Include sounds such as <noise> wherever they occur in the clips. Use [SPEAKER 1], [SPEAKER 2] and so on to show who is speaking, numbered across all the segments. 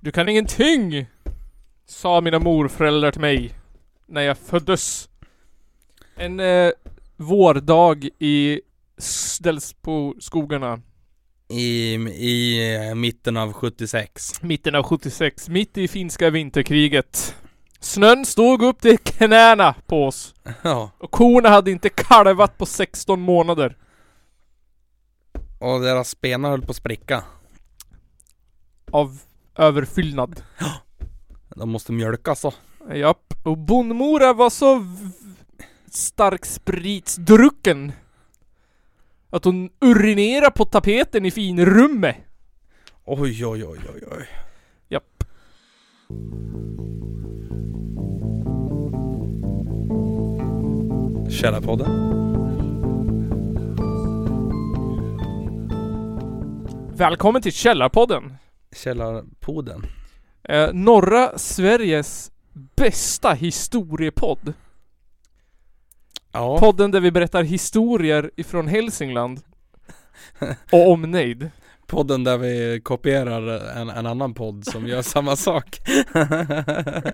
[SPEAKER 1] Du kan ingenting! Sa mina morföräldrar till mig. När jag föddes. En eh, vårdag i Delsbo-skogarna.
[SPEAKER 2] I, i eh, mitten av 76.
[SPEAKER 1] Mitten av 76, mitt i finska vinterkriget. Snön stod upp till knäna på oss.
[SPEAKER 2] <laughs> Ja.
[SPEAKER 1] Och korna hade inte kalvat på 16 månader.
[SPEAKER 2] Och deras spenar höll på att spricka.
[SPEAKER 1] Av överfyllnad.
[SPEAKER 2] De måste mjölkas så.
[SPEAKER 1] Japp. Och bondmora var så v- stark spritsdrucken. Att hon urinerade på tapeten i finrummet.
[SPEAKER 2] Oj, oj, oj, oj, oj.
[SPEAKER 1] Japp.
[SPEAKER 2] Källarpodden.
[SPEAKER 1] Välkommen till Källarpodden.
[SPEAKER 2] Källarpoden.
[SPEAKER 1] Eh, norra Sveriges bästa historiepodd.
[SPEAKER 2] Ja.
[SPEAKER 1] Podden där vi berättar historier ifrån Hälsingland. Och omnejd.
[SPEAKER 2] Podden där vi kopierar en, en annan podd som gör samma sak.
[SPEAKER 1] <laughs>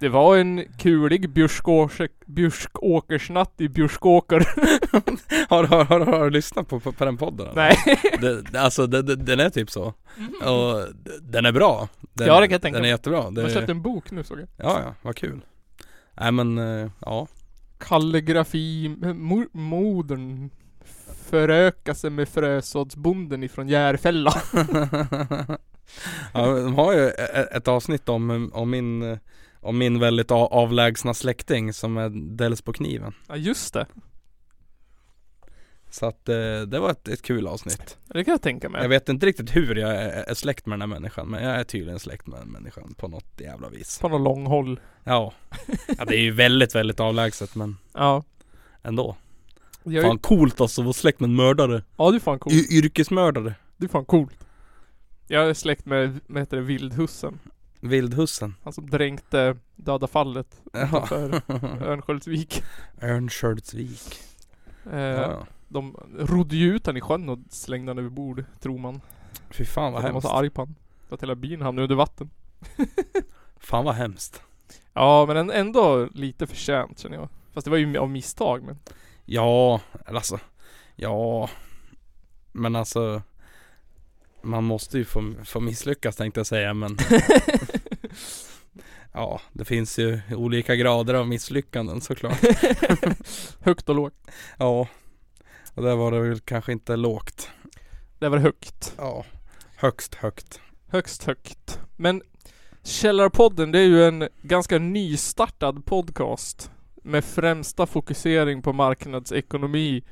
[SPEAKER 1] Det var en kulig björskåse- björskåkersnatt i Björskåker.
[SPEAKER 2] har, har, har, har du lyssnat på, på, på den podden? eller?
[SPEAKER 1] Nej.
[SPEAKER 2] <laughs>
[SPEAKER 1] Mhm.
[SPEAKER 2] Det, det- alltså det, det, den är typ så. Och d- den är bra. Den,
[SPEAKER 1] Ja, det kan jag tänka
[SPEAKER 2] Den är
[SPEAKER 1] mig.
[SPEAKER 2] jättebra. Det,
[SPEAKER 1] Jag
[SPEAKER 2] ja,
[SPEAKER 1] köpte en bok nu såg jag.
[SPEAKER 2] ja, vad kul. Nej men, eh, ja. <laughs>
[SPEAKER 1] Kalligrafi, mo- modern. Föröka sig med frösådsbonden ifrån Järfälla.
[SPEAKER 2] ja, de har ju e- ett avsnitt om, om min eh, om min väldigt a- avlägsna släkting som är dels på kniven.
[SPEAKER 1] Ja just det.
[SPEAKER 2] Så att eh, det var ett, ett kul avsnitt.
[SPEAKER 1] Det kan jag tänka mig.
[SPEAKER 2] Jag vet inte riktigt hur jag är, är släkt med den här människan men jag är tydligen släkt med den människan på något jävla vis.
[SPEAKER 1] På något lång håll.
[SPEAKER 2] Ja. ja det är ju väldigt väldigt avlägset men
[SPEAKER 1] Ja.
[SPEAKER 2] ändå.
[SPEAKER 1] Jag är,
[SPEAKER 2] Fan coolt alltså att vara släkt med en mördare.
[SPEAKER 1] ja det är fan coolt.
[SPEAKER 2] Y- yrkesmördare.
[SPEAKER 1] Det är fan coolt. Jag är släkt med, vad heter det, vildhussen.
[SPEAKER 2] Vildhussen.
[SPEAKER 1] Han som dränkte döda fallet
[SPEAKER 2] <laughs> Jaha.
[SPEAKER 1] utanför
[SPEAKER 2] Mhm.
[SPEAKER 1] Örnsköldsvik.
[SPEAKER 2] Örnsköldsvik.
[SPEAKER 1] Eh,
[SPEAKER 2] Ja, ja.
[SPEAKER 1] De rodde ju ut han i sjön och slängde han över bord, tror man.
[SPEAKER 2] Fy fan vad
[SPEAKER 1] Han var
[SPEAKER 2] hemskt.
[SPEAKER 1] så arg på han. Så Att hela byn hamnade under vatten.
[SPEAKER 2] Fan vad hemskt.
[SPEAKER 1] Ja men en- ändå lite förtjänt känner jag. Fast det var ju av misstag men.
[SPEAKER 2] Ja, eller alltså. Ja. Men alltså. Man måste ju få, få misslyckas tänkte jag säga men. ja, det finns ju olika grader av misslyckanden såklart.
[SPEAKER 1] <laughs> högt och lågt.
[SPEAKER 2] Ja. Och där var det väl kanske inte lågt.
[SPEAKER 1] Det var högt.
[SPEAKER 2] Ja. Högst högt.
[SPEAKER 1] Högst högt. Men Källarpodden det är ju en ganska nystartad podcast. Med främsta fokusering på marknadsekonomi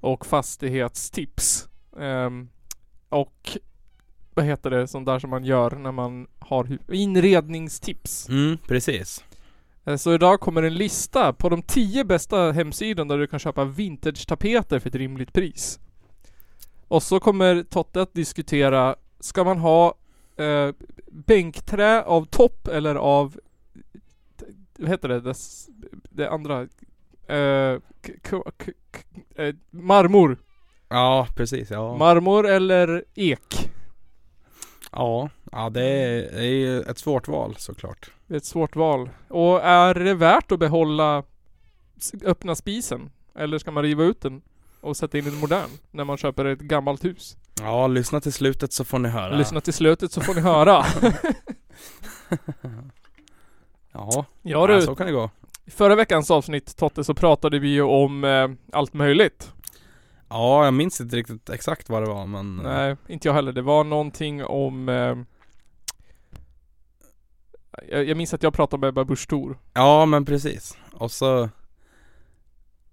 [SPEAKER 1] och fastighetstips. Ehm, och vad heter det, sånt där som man gör när man har hu- inredningstips.
[SPEAKER 2] Mm, precis.
[SPEAKER 1] Eh, Så idag kommer en lista på de 10 bästa hemsidorna där du kan köpa vintage-tapeter för ett rimligt pris. Och så kommer Totte att diskutera, ska man ha eh, bänkträ av topp eller av, vad heter det, det, s- det andra, eh, k- k- k- k- eh, marmor.
[SPEAKER 2] Ja, precis. Ja.
[SPEAKER 1] Marmor eller ek.
[SPEAKER 2] Ja, ja det är, det är ju ett svårt val såklart.
[SPEAKER 1] Det är ett svårt val. Och är det värt att behålla s- öppna spisen? Eller ska man riva ut den och sätta in en modern när man köper ett gammalt hus?
[SPEAKER 2] Ja, lyssna till slutet så får ni höra.
[SPEAKER 1] Lyssna till slutet så får ni höra.
[SPEAKER 2] <laughs> Ja,
[SPEAKER 1] ja
[SPEAKER 2] ja,
[SPEAKER 1] du,
[SPEAKER 2] så kan det gå.
[SPEAKER 1] i förra veckans avsnitt Totte så pratade vi ju om eh, allt möjligt.
[SPEAKER 2] Ja, jag minns inte riktigt exakt vad det var men eh,
[SPEAKER 1] Nej, inte jag heller. Det var någonting om eh, jag, jag minns att jag pratade med Ebba Busch Thor.
[SPEAKER 2] Ja, men precis. Och så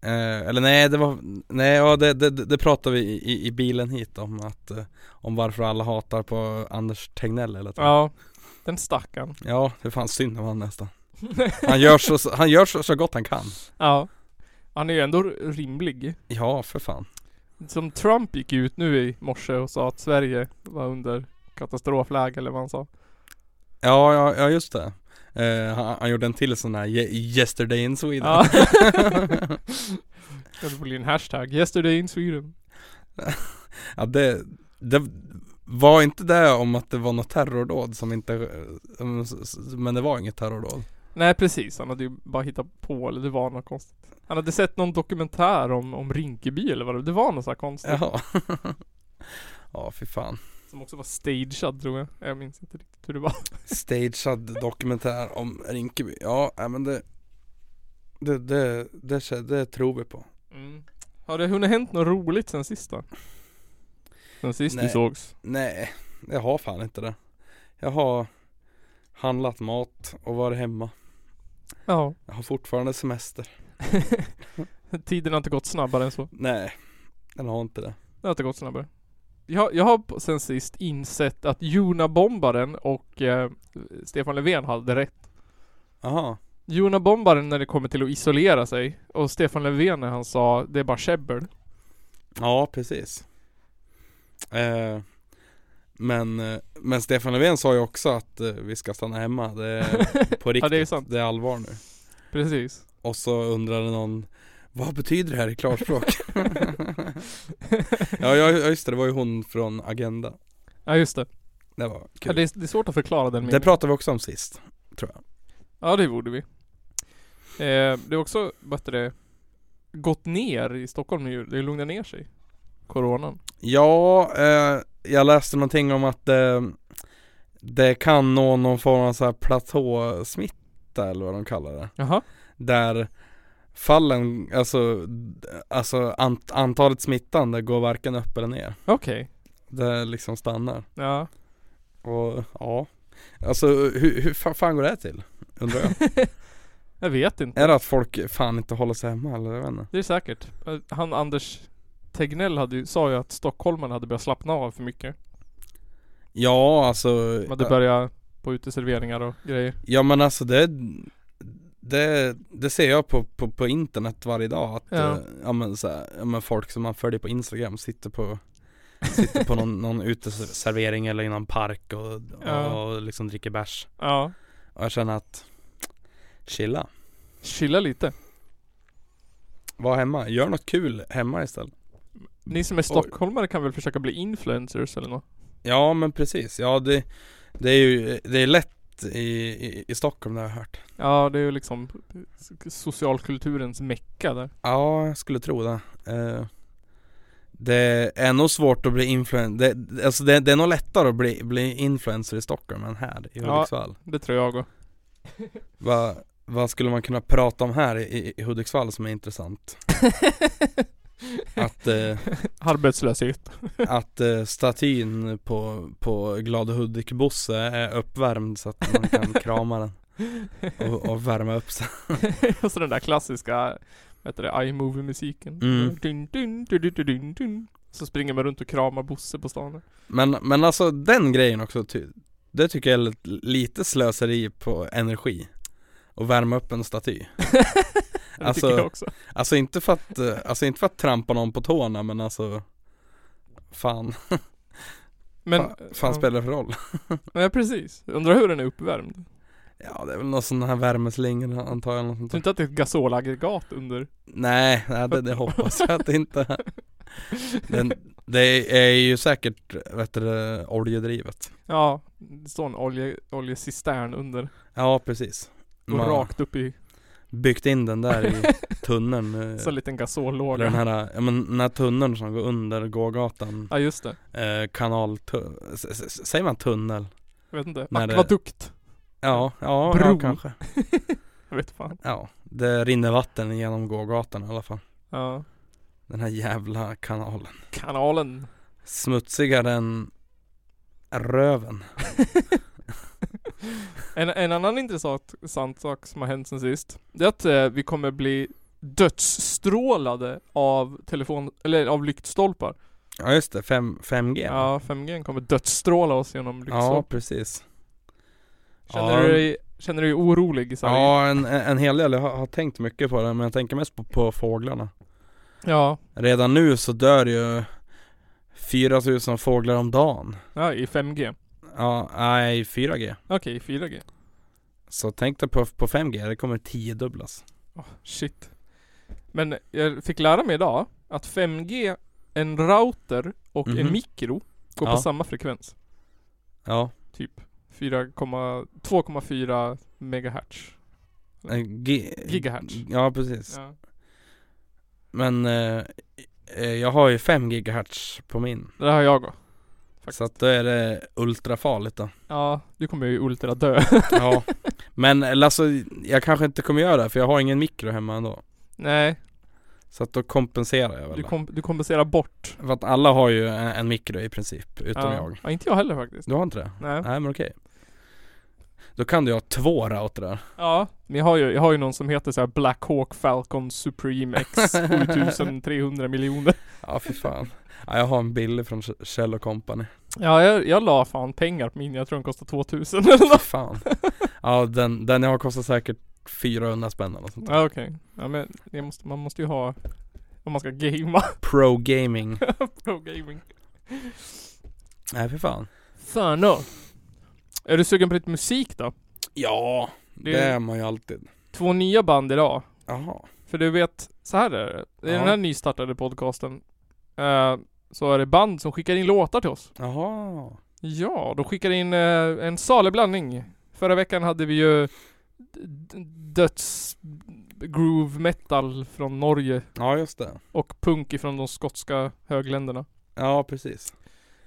[SPEAKER 2] eh, Eller nej, det var Nej, ja det, det, det pratade vi i- i, i bilen hit om att eh, Om varför alla hatar på Anders Tegnell eller något.
[SPEAKER 1] Ja, den stackaren.
[SPEAKER 2] ja, det fanns synd om han nästan Han gör så, han gör så, så gott han kan
[SPEAKER 1] <laughs> ja. Han är ju ändå rimlig.
[SPEAKER 2] Ja, för fan
[SPEAKER 1] Som Trump gick ut nu i morse och sa att Sverige var under katastrofläge eller vad han sa.
[SPEAKER 2] Ja, ja, ja just det. Eh, han, han gjorde en till sån här "Ye- Yesterday in Sweden. <laughs>
[SPEAKER 1] Ja. <laughs> det blir en hashtag. Yesterday in Sweden.
[SPEAKER 2] ja det, det Var inte det om att det var något terrordåd som inte, eh, s- s- men det var inget terrordåd?
[SPEAKER 1] Nej precis, han hade ju bara hittat på eller det var något konstigt. Han hade sett någon dokumentär om, om Rinkeby eller vad det, det var något så här konstigt.
[SPEAKER 2] Jaha. <laughs> ja, fy fan.
[SPEAKER 1] Som också var stagead tror jag. Jag minns inte riktigt hur det var.
[SPEAKER 2] Stagead dokumentär om Rinkeby. Ja, nej, men det det, det, det, kä- det tror vi på.
[SPEAKER 1] <laughs> Mm. Har det hunnit hänt något roligt sen sist då? Sen sist vi
[SPEAKER 2] Nej.
[SPEAKER 1] sågs?
[SPEAKER 2] Nej, jag har fan inte det. Jag har handlat mat och varit hemma.
[SPEAKER 1] <laughs> Ja.
[SPEAKER 2] Jag har fortfarande semester.
[SPEAKER 1] Tiden har inte gått snabbare än så.
[SPEAKER 2] Nej, den har inte det.
[SPEAKER 1] Det har inte gått snabbare. Jag, jag har på- sen sist insett att Jona-bombaren och eh, Stefan Löfven hade rätt.
[SPEAKER 2] Jaha,
[SPEAKER 1] Jona-bombaren när det kommer till att isolera sig och Stefan Löfven när han sa det är bara käbbel.
[SPEAKER 2] ja precis. Eh, men, eh, men Stefan Löfven sa ju också att eh, vi ska stanna hemma. Det är Eh, på
[SPEAKER 1] <laughs>
[SPEAKER 2] riktigt.
[SPEAKER 1] Ja, det är ju sant.
[SPEAKER 2] det är allvar nu.
[SPEAKER 1] Precis.
[SPEAKER 2] Och så undrade någon Vad betyder det här
[SPEAKER 1] <laughs>
[SPEAKER 2] i klarspråk? ja, ja ja, just det, det var ju hon från Agenda
[SPEAKER 1] Ja just det.
[SPEAKER 2] Det var
[SPEAKER 1] Ja,
[SPEAKER 2] kul
[SPEAKER 1] det, är, det är svårt att förklara den
[SPEAKER 2] Det
[SPEAKER 1] meningen.
[SPEAKER 2] pratade vi också om sist
[SPEAKER 1] Ja det borde vi. Eh, det är också, vad heter det, gått ner i Stockholm nu. Det lugnar ner sig. Coronan.
[SPEAKER 2] Ja, eh, jag läste någonting om att eh, Det kan nå någon form av så här platåsmitta eller vad de kallar det
[SPEAKER 1] Jaha.
[SPEAKER 2] Där fallen, alltså, alltså ant- antalet smittande går varken upp eller ner
[SPEAKER 1] Okej.
[SPEAKER 2] Det liksom stannar
[SPEAKER 1] Ja.
[SPEAKER 2] Och ja Alltså hur, hur fa- fan går det här till? Undrar jag
[SPEAKER 1] Jag vet inte.
[SPEAKER 2] Är det att folk fan inte håller sig hemma eller jag vet inte?
[SPEAKER 1] Det är säkert. Eh, Han Anders Tegnell hade ju, sa ju att stockholmarna hade börjat slappna av för mycket.
[SPEAKER 2] Ja alltså
[SPEAKER 1] De hade börjat på uteserveringar och grejer.
[SPEAKER 2] Ja men alltså det Det, det ser jag på, på, på internet varje dag att
[SPEAKER 1] Ja.
[SPEAKER 2] ja. ja men så här, ja, men folk som man följer på instagram sitter på Sitter på någon, <laughs> någon uteservering eller i någon park och,
[SPEAKER 1] Ja.
[SPEAKER 2] och, och liksom dricker bärs
[SPEAKER 1] <laughs> Ja.
[SPEAKER 2] Och jag känner att Chilla
[SPEAKER 1] Chilla lite.
[SPEAKER 2] Var hemma, gör något kul hemma istället
[SPEAKER 1] Ni som är stockholmare kan väl försöka bli influencers eller något?
[SPEAKER 2] Ja men precis, ja det Det är ju, det är lätt i, i, i Stockholm det har jag hört
[SPEAKER 1] Ja, det är ju liksom socialkulturens mecka där.
[SPEAKER 2] Ja, jag skulle tro det. Eh, det är nog svårt att bli influencer, det, alltså det, det är nog lättare att bli, bli influencer i Stockholm än här i
[SPEAKER 1] Ja.
[SPEAKER 2] Hudiksvall.
[SPEAKER 1] Det tror jag också.
[SPEAKER 2] Va, vad skulle man kunna prata om här i, i Hudiksvall som är intressant? Att, eh,
[SPEAKER 1] Arbetslöshet. <laughs>
[SPEAKER 2] att eh, statyn på, på Glada Hudik-Bosse är uppvärmd så att man kan krama den och, och värma upp sig.
[SPEAKER 1] och så den där klassiska, vad heter det, iMovie-musiken.
[SPEAKER 2] Mm.
[SPEAKER 1] Dun, dun, dun, dun, dun, dun. Så springer man runt och kramar Bosse på stan.
[SPEAKER 2] Men, men alltså den grejen också, ty, det tycker jag är lite- lite slöseri på energi. Och värma upp en staty.
[SPEAKER 1] Det
[SPEAKER 2] Alltså-
[SPEAKER 1] tycker jag också.
[SPEAKER 2] Alltså inte för att, eh, alltså inte för att trampa någon på tårna men alltså Fan,
[SPEAKER 1] Men,
[SPEAKER 2] fa, fan
[SPEAKER 1] ja.
[SPEAKER 2] spelar det för roll?
[SPEAKER 1] Nej precis. Undrar hur den är uppvärmd.
[SPEAKER 2] Ja det är väl någon sån här värmeslingor antar jag eller något sånt
[SPEAKER 1] Tror inte
[SPEAKER 2] där.
[SPEAKER 1] att det är ett gasolaggregat under?
[SPEAKER 2] Nej, nej det, det hoppas jag att det inte är. Den, Det är ju säkert, vet du, det, oljedrivet
[SPEAKER 1] <laughs> Ja, det står en olje, oljecistern under.
[SPEAKER 2] Ja precis
[SPEAKER 1] Och
[SPEAKER 2] Man har
[SPEAKER 1] rakt upp i,
[SPEAKER 2] byggt in den där
[SPEAKER 1] <laughs>
[SPEAKER 2] i tunneln eh,
[SPEAKER 1] så en liten
[SPEAKER 2] Eller den
[SPEAKER 1] gasollåga.
[SPEAKER 2] här, ja men den här tunneln som går under gågatan
[SPEAKER 1] Ja just det.
[SPEAKER 2] eh, Kanal, tu- s- s- s- säger man tunnel?
[SPEAKER 1] Jag vet inte.
[SPEAKER 2] När det-
[SPEAKER 1] Akvadukt.
[SPEAKER 2] Ja, ja,
[SPEAKER 1] Bro.
[SPEAKER 2] ja kanske
[SPEAKER 1] Jag vet fan.
[SPEAKER 2] Ja, det rinner vatten genom gågatan i alla fall
[SPEAKER 1] Ja.
[SPEAKER 2] Den här jävla kanalen
[SPEAKER 1] Kanalen.
[SPEAKER 2] Smutsigare än röven
[SPEAKER 1] En, en annan intressant sant sak som har hänt sen sist. Det är att eh, vi kommer bli dödsstrålade av telefon, eller av lyktstolpar.
[SPEAKER 2] Ja just det, 5, 5G
[SPEAKER 1] Ja, 5G kommer dödsstråla oss genom
[SPEAKER 2] ja
[SPEAKER 1] lyktstolpar.
[SPEAKER 2] precis
[SPEAKER 1] Känner,
[SPEAKER 2] Ja.
[SPEAKER 1] du dig, känner du dig orolig i Sverige?
[SPEAKER 2] Ja en, en hel del, jag har, har tänkt mycket på det men jag tänker mest på, på fåglarna
[SPEAKER 1] Ja.
[SPEAKER 2] Redan nu så dör ju 4000 fåglar om dagen
[SPEAKER 1] Ja, i 5G.
[SPEAKER 2] Ja, nej 4G
[SPEAKER 1] Okej, i 4G.
[SPEAKER 2] Så tänk dig på, på 5G, det kommer tiodubblas.
[SPEAKER 1] Åh, shit. Men jag fick lära mig idag att 5G, en router och
[SPEAKER 2] Mhm.
[SPEAKER 1] en mikro Går
[SPEAKER 2] Ja.
[SPEAKER 1] på samma frekvens.
[SPEAKER 2] Ja,
[SPEAKER 1] Typ 4,2,4 megahertz.
[SPEAKER 2] en gi-
[SPEAKER 1] Gigahertz.
[SPEAKER 2] eh, Ja precis
[SPEAKER 1] Ja.
[SPEAKER 2] Men eh, eh, jag har ju 5 gigahertz på min
[SPEAKER 1] Det har jag också. Faktiskt.
[SPEAKER 2] Så att då är det ultrafarligt då
[SPEAKER 1] Ja, du kommer ju ultra dö.
[SPEAKER 2] Ja Men eller alltså jag kanske inte kommer göra det för jag har ingen mikro hemma ändå
[SPEAKER 1] <laughs> Nej,
[SPEAKER 2] Så att då kompenserar jag väl
[SPEAKER 1] du,
[SPEAKER 2] då.
[SPEAKER 1] kom, du kompenserar bort.
[SPEAKER 2] För att alla har ju en, en mikro i princip utom
[SPEAKER 1] ja.
[SPEAKER 2] jag
[SPEAKER 1] Ja, inte jag heller faktiskt.
[SPEAKER 2] Du har inte det?
[SPEAKER 1] Nej.
[SPEAKER 2] Nej men okej Då kan du ha två routrar
[SPEAKER 1] Ja, men jag har ju, jag har ju någon som heter så här Black Hawk Falcon Supreme
[SPEAKER 2] <laughs>
[SPEAKER 1] X 7300 miljoner.
[SPEAKER 2] Ja
[SPEAKER 1] <laughs>
[SPEAKER 2] fy fan ja, Jag har en billig från Shell Company
[SPEAKER 1] Ja, jag, jag la fan pengar på min. Jag tror den kostar 2000 eller något.
[SPEAKER 2] Fan Ja den, den jag har kostar säkert 400 spänn eller något sånt där.
[SPEAKER 1] <laughs> Ja, okej. Ja, men det måste, man måste ju ha om man ska gamea <laughs>
[SPEAKER 2] Pro gaming
[SPEAKER 1] pro gaming.
[SPEAKER 2] Nej för fan
[SPEAKER 1] Fan då. Är du sugen på lite musik då?
[SPEAKER 2] Ja, det,
[SPEAKER 1] Det-
[SPEAKER 2] är man ju alltid.
[SPEAKER 1] Två nya band idag.
[SPEAKER 2] Jaha.
[SPEAKER 1] För du vet, så här är det. I
[SPEAKER 2] Ja.
[SPEAKER 1] den här nystartade podcasten eh, så är det band som skickar in låtar till oss.
[SPEAKER 2] Jaha.
[SPEAKER 1] Ja, de skickar in eh, en salig blandning. Förra veckan hade vi ju d- döds groove metal från Norge
[SPEAKER 2] Ja, just det.
[SPEAKER 1] och punk ifrån de skotska högländerna.
[SPEAKER 2] Ja, precis.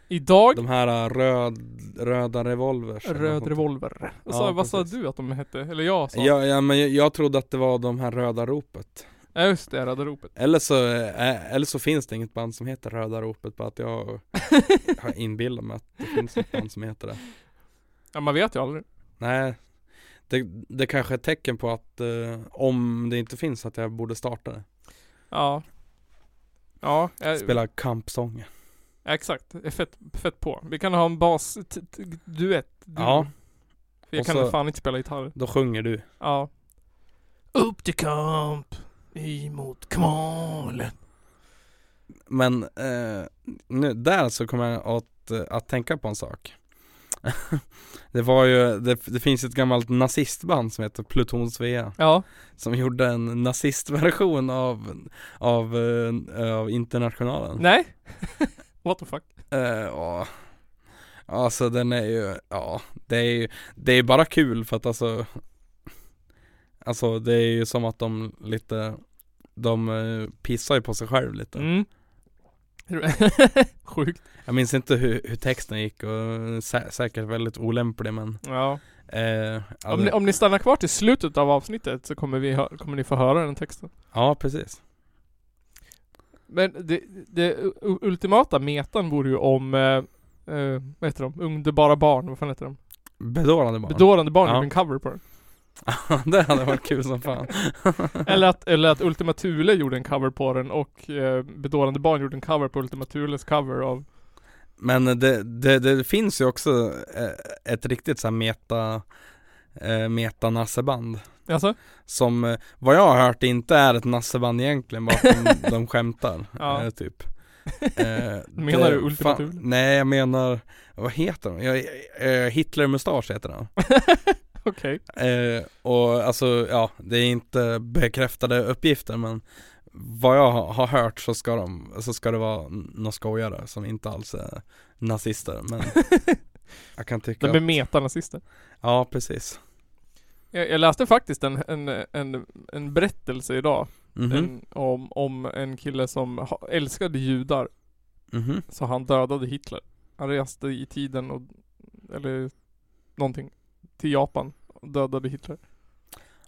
[SPEAKER 1] Idag,
[SPEAKER 2] De här äh, röd, röda revolvers. eller något
[SPEAKER 1] Röd
[SPEAKER 2] sånt.
[SPEAKER 1] Revolver. Vad sa-
[SPEAKER 2] Ja,
[SPEAKER 1] vad sa
[SPEAKER 2] precis.
[SPEAKER 1] du att de hette? Eller jag sa?
[SPEAKER 2] Ja, ja, men jag, jag trodde att det var de här röda ropet.
[SPEAKER 1] Ja just det, Röda
[SPEAKER 2] <laughs>
[SPEAKER 1] Ropet.
[SPEAKER 2] Eller så, eh, eller så finns det inget band som heter Röda ropet, bara att jag har inbillat mig att det finns ett band som heter det.
[SPEAKER 1] Ja man vet ju aldrig.
[SPEAKER 2] Nej, det, det kanske är ett tecken på att eh, om det inte finns att jag borde starta det.
[SPEAKER 1] Ja. Ja, jag,
[SPEAKER 2] Spela kampsånger.
[SPEAKER 1] ja, exakt. Det är Fett, fett på. Vi kan ha en bas t- t- duett. Du-
[SPEAKER 2] Ja.
[SPEAKER 1] För jag
[SPEAKER 2] och
[SPEAKER 1] kan
[SPEAKER 2] så-
[SPEAKER 1] fan inte spela gitarr.
[SPEAKER 2] Då sjunger du.
[SPEAKER 1] Ja. Upp till kamp. Emot kvalen.
[SPEAKER 2] Men eh, nu, där så kommer jag att, att tänka på en sak <laughs> Det var ju, det, det finns ett gammalt nazistband som heter Pluton Svea
[SPEAKER 1] Ja.
[SPEAKER 2] Som gjorde en nazistversion av, av, eh, av Internationalen
[SPEAKER 1] Nej. <laughs> What the fuck.
[SPEAKER 2] eh, ja. Alltså den är ju, ja det är ju, det är bara kul för att alltså Alltså det är ju som att de lite De eh, pissar ju på sig själv lite
[SPEAKER 1] Mm. <laughs> Sjukt.
[SPEAKER 2] Jag minns inte hur, hur texten gick och sä säkert väldigt olämplig men
[SPEAKER 1] Ja.
[SPEAKER 2] eh, ja,
[SPEAKER 1] Om ni,
[SPEAKER 2] det-
[SPEAKER 1] om ni stannar kvar till slutet av avsnittet så kommer, vi hö- kommer ni få höra den texten.
[SPEAKER 2] ja precis
[SPEAKER 1] Men det, det u- ultimata metan vore ju om, eh, eh, vad heter de? Underbara barn, vad fan heter de?
[SPEAKER 2] Bedårande barn
[SPEAKER 1] Bedårande barn
[SPEAKER 2] Ja.
[SPEAKER 1] gjorde en cover på den.
[SPEAKER 2] <laughs> Det hade varit kul som fan
[SPEAKER 1] Eller att, eller att Ultima Thule gjorde en cover på den och eh, Bedårande barn gjorde en cover på Ultima Thules cover av
[SPEAKER 2] Men det, det, det finns ju också eh, ett riktigt så här meta eh, Meta-nasseband
[SPEAKER 1] Alltså?
[SPEAKER 2] Som eh, vad jag har hört inte är ett nasseband egentligen bara
[SPEAKER 1] <laughs>
[SPEAKER 2] att de, de skämtar
[SPEAKER 1] Ja.
[SPEAKER 2] eh, typ
[SPEAKER 1] <laughs>
[SPEAKER 2] Eh,
[SPEAKER 1] Menar
[SPEAKER 2] det-
[SPEAKER 1] du Ultima
[SPEAKER 2] fan-
[SPEAKER 1] Thule?
[SPEAKER 2] Nej jag menar, vad heter de? Jag, eh, Hitler-mustasch heter han
[SPEAKER 1] <laughs> Okej.
[SPEAKER 2] Eh, och alltså, ja, det är inte bekräftade uppgifter men vad jag har har hört så ska, de, så ska det vara n- några skojare som inte alls är nazister men
[SPEAKER 1] <laughs>
[SPEAKER 2] jag kan tycka
[SPEAKER 1] De är metanazister.
[SPEAKER 2] Ja, precis.
[SPEAKER 1] Jag, jag läste faktiskt en, en, en, en berättelse idag
[SPEAKER 2] Mhm,
[SPEAKER 1] en, om, om en kille som ha, älskade judar
[SPEAKER 2] mhm.
[SPEAKER 1] Så han dödade Hitler. Han reste i tiden och, eller någonting, till Japan och dödade Hitler.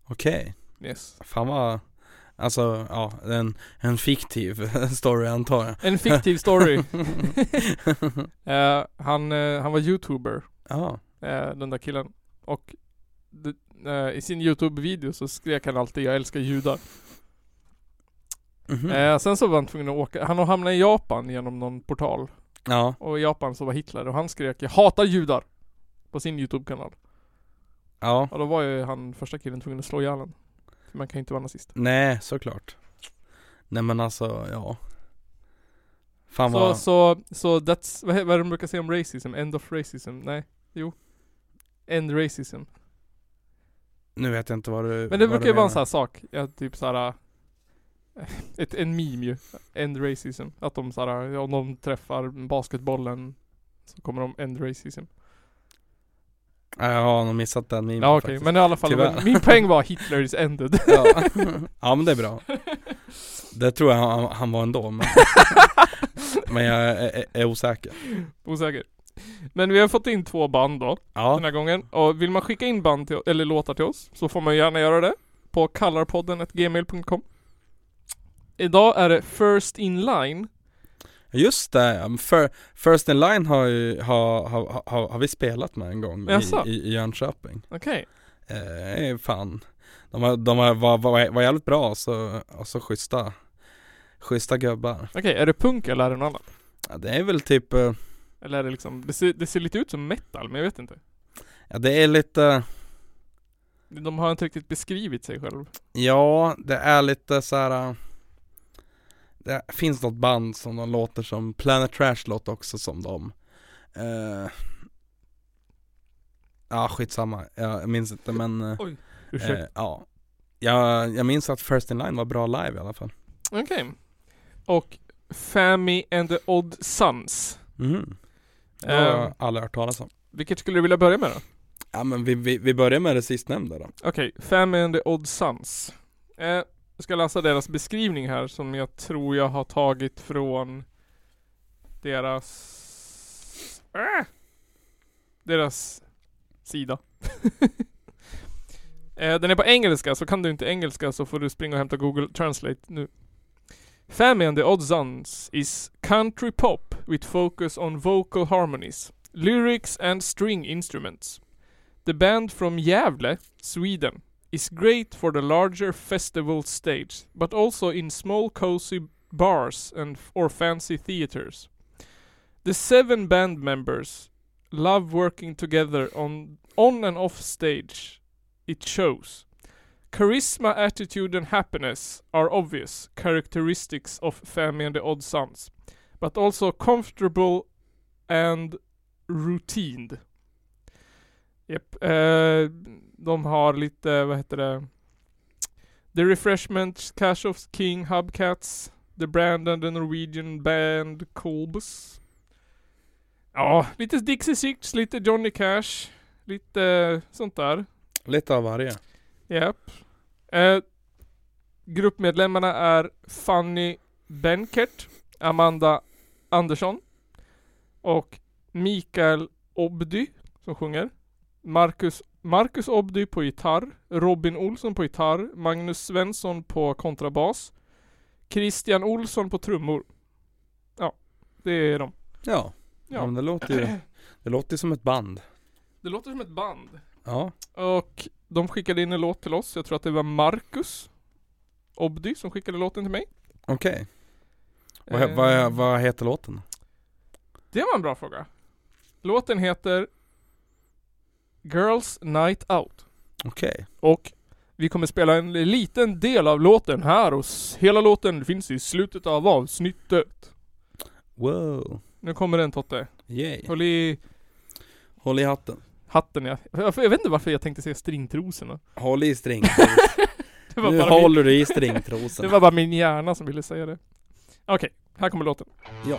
[SPEAKER 2] Okej,
[SPEAKER 1] Yes.
[SPEAKER 2] fan vad Alltså, ja, en, en fiktiv <laughs> story antar jag
[SPEAKER 1] En fiktiv story. <laughs> Eh, han, eh, han var youtuber,
[SPEAKER 2] Ja,
[SPEAKER 1] eh, den där killen. Och det- eh, i sin youtube-video så skrek han alltid 'Jag älskar judar'
[SPEAKER 2] mhm.
[SPEAKER 1] eh, Sen så var han tvungen att åka, han hamnade i Japan genom någon portal.
[SPEAKER 2] ja,
[SPEAKER 1] Och i Japan så var Hitler och han skrek 'Jag hatar judar' på sin youtube-kanal.
[SPEAKER 2] ja,
[SPEAKER 1] Och då var ju han första killen tvungen att slå ihjäl honom. För man kan ju inte vara nazist.
[SPEAKER 2] nej såklart Nej men alltså, ja Fan
[SPEAKER 1] Så,
[SPEAKER 2] vad
[SPEAKER 1] så, så that's, vad, he- vad de brukar säga om racism? End of racism? Nej, jo. End racism.
[SPEAKER 2] Nu vet jag inte vad du
[SPEAKER 1] Men det
[SPEAKER 2] vad
[SPEAKER 1] brukar
[SPEAKER 2] du
[SPEAKER 1] ju vara
[SPEAKER 2] menar.
[SPEAKER 1] en sån här sak, ja, typ såhär <laughs> ett, en meme ju. End racism. Att de såhär, om de träffar basketbollen Så kommer de end racism.
[SPEAKER 2] Ja, Jag har nog missat den memen
[SPEAKER 1] Ja okej,
[SPEAKER 2] faktiskt.
[SPEAKER 1] men i alla fall.
[SPEAKER 2] Tyvärr.
[SPEAKER 1] Min poäng
[SPEAKER 2] <laughs>
[SPEAKER 1] var Hitler is ended.
[SPEAKER 2] Ja. <laughs> ja men det är bra. Det tror jag han, han var ändå men, men jag är, är osäker.
[SPEAKER 1] <laughs> Osäker. Men vi har fått in två band då. den
[SPEAKER 2] Ja,
[SPEAKER 1] här gången. Och vill man skicka in band till, eller låtar till oss så får man ju gärna göra det på kallarpodden.gmail.com Idag är det First In Line.
[SPEAKER 2] just det. Um, Fir- First in line har, ju, har, har, har, har vi spelat med en gång i,
[SPEAKER 1] Jaså?
[SPEAKER 2] i, i Jönköping.
[SPEAKER 1] Okej.
[SPEAKER 2] Eh, fan. De, har, de har, var, var, var jävligt bra och så, och så schyssta, schyssta gubbar.
[SPEAKER 1] Okej, är det punk eller är det något annat?
[SPEAKER 2] Ja, det är väl typ, eh,
[SPEAKER 1] Eller är det liksom, det ser, det ser lite ut som metal men jag vet inte.
[SPEAKER 2] ja, det är lite,
[SPEAKER 1] De har inte riktigt beskrivit sig
[SPEAKER 2] Eh.
[SPEAKER 1] själv.
[SPEAKER 2] ja det är lite så här. eh, Det finns något band som de låter som, Planet Trash låter också som dem. Eh, ja skitsamma, jag minns inte men eh,
[SPEAKER 1] Ursäkta.
[SPEAKER 2] eh, ja. Jag, jag minns att First In Line var bra live i alla fall.
[SPEAKER 1] Okej. Och Fammy and the Odd Sons.
[SPEAKER 2] Mhm. Det har
[SPEAKER 1] Eh,
[SPEAKER 2] jag aldrig hört talas om.
[SPEAKER 1] vilket skulle du vilja börja med då?
[SPEAKER 2] Ja men vi, vi, vi börjar med det sistnämnda då.
[SPEAKER 1] Okej, Family and the Odd Sons. Eh, jag ska läsa deras beskrivning här som jag tror jag har tagit från deras... Äh! Deras sida. <laughs> eh, den är på engelska, så kan du inte engelska så får du springa och hämta Google Translate nu. Family and the Odd Sons is country pop with focus on vocal harmonies, lyrics and string instruments. The band from Gävle, Sweden, is great for the larger festival stage, but also in small cozy bars and or fancy theaters. The seven band members love working together on on and off stage. It shows. Charisma, attitude and happiness are obvious characteristics of Family and the Odd Sons, but also comfortable and routined. Japp. Eh, de har lite, vad heter det? The Refreshments, Cash of King, Hubcats, The Brand and the Norwegian Band, Kolbus. Ja, lite Dixie Six, lite Johnny Cash, lite sånt där.
[SPEAKER 2] Lite av varje.
[SPEAKER 1] Japp. Eh, gruppmedlemmarna är Fanny Benkert, Amanda Andersson och Mikael Obdy som sjunger. Marcus, Marcus Obdy på gitarr, Robin Olsson på gitarr, Magnus Svensson på kontrabas, Christian Olsson på trummor. Ja, det är de.
[SPEAKER 2] Ja, ja.
[SPEAKER 1] Ja,
[SPEAKER 2] men det låter ju Det låter ju som ett band
[SPEAKER 1] det låter som ett band.
[SPEAKER 2] Ja,
[SPEAKER 1] Och de skickade in en låt till oss. Jag tror att det var Marcus Obdy som skickade låten till mig.
[SPEAKER 2] okej
[SPEAKER 1] Eh,
[SPEAKER 2] Vad vad vad heter låten?
[SPEAKER 1] Det var en bra fråga. Låten heter Girls Night Out.
[SPEAKER 2] Okej
[SPEAKER 1] Och vi kommer spela en liten del av låten här och s- hela låten finns i slutet av avsnittet.
[SPEAKER 2] Wow
[SPEAKER 1] Nu kommer den Totte.
[SPEAKER 2] Yay
[SPEAKER 1] Håll i
[SPEAKER 2] Håll i hatten
[SPEAKER 1] hatten ja. Jag jag vet inte varför jag tänkte säga stringtrosorna.
[SPEAKER 2] Håll i <laughs> stringtrosen
[SPEAKER 1] Det var,
[SPEAKER 2] Nu
[SPEAKER 1] bara min,
[SPEAKER 2] håller du i
[SPEAKER 1] det
[SPEAKER 2] stringtrosen
[SPEAKER 1] var bara min hjärna som ville säga det. Okej, här kommer låten.
[SPEAKER 2] Ja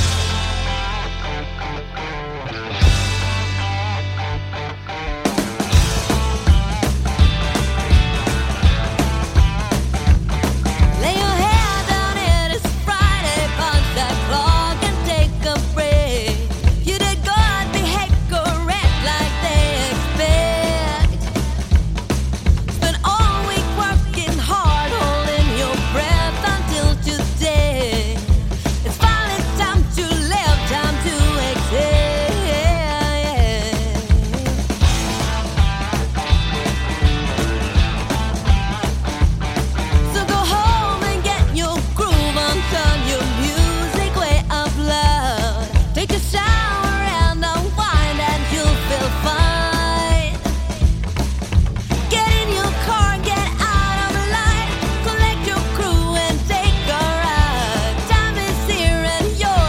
[SPEAKER 3] Lay your head down, it is Friday. Punch that clock and take a break. You did good, behave correct like they expect. Spend all week working hard, holding your breath until today. Oh, oh,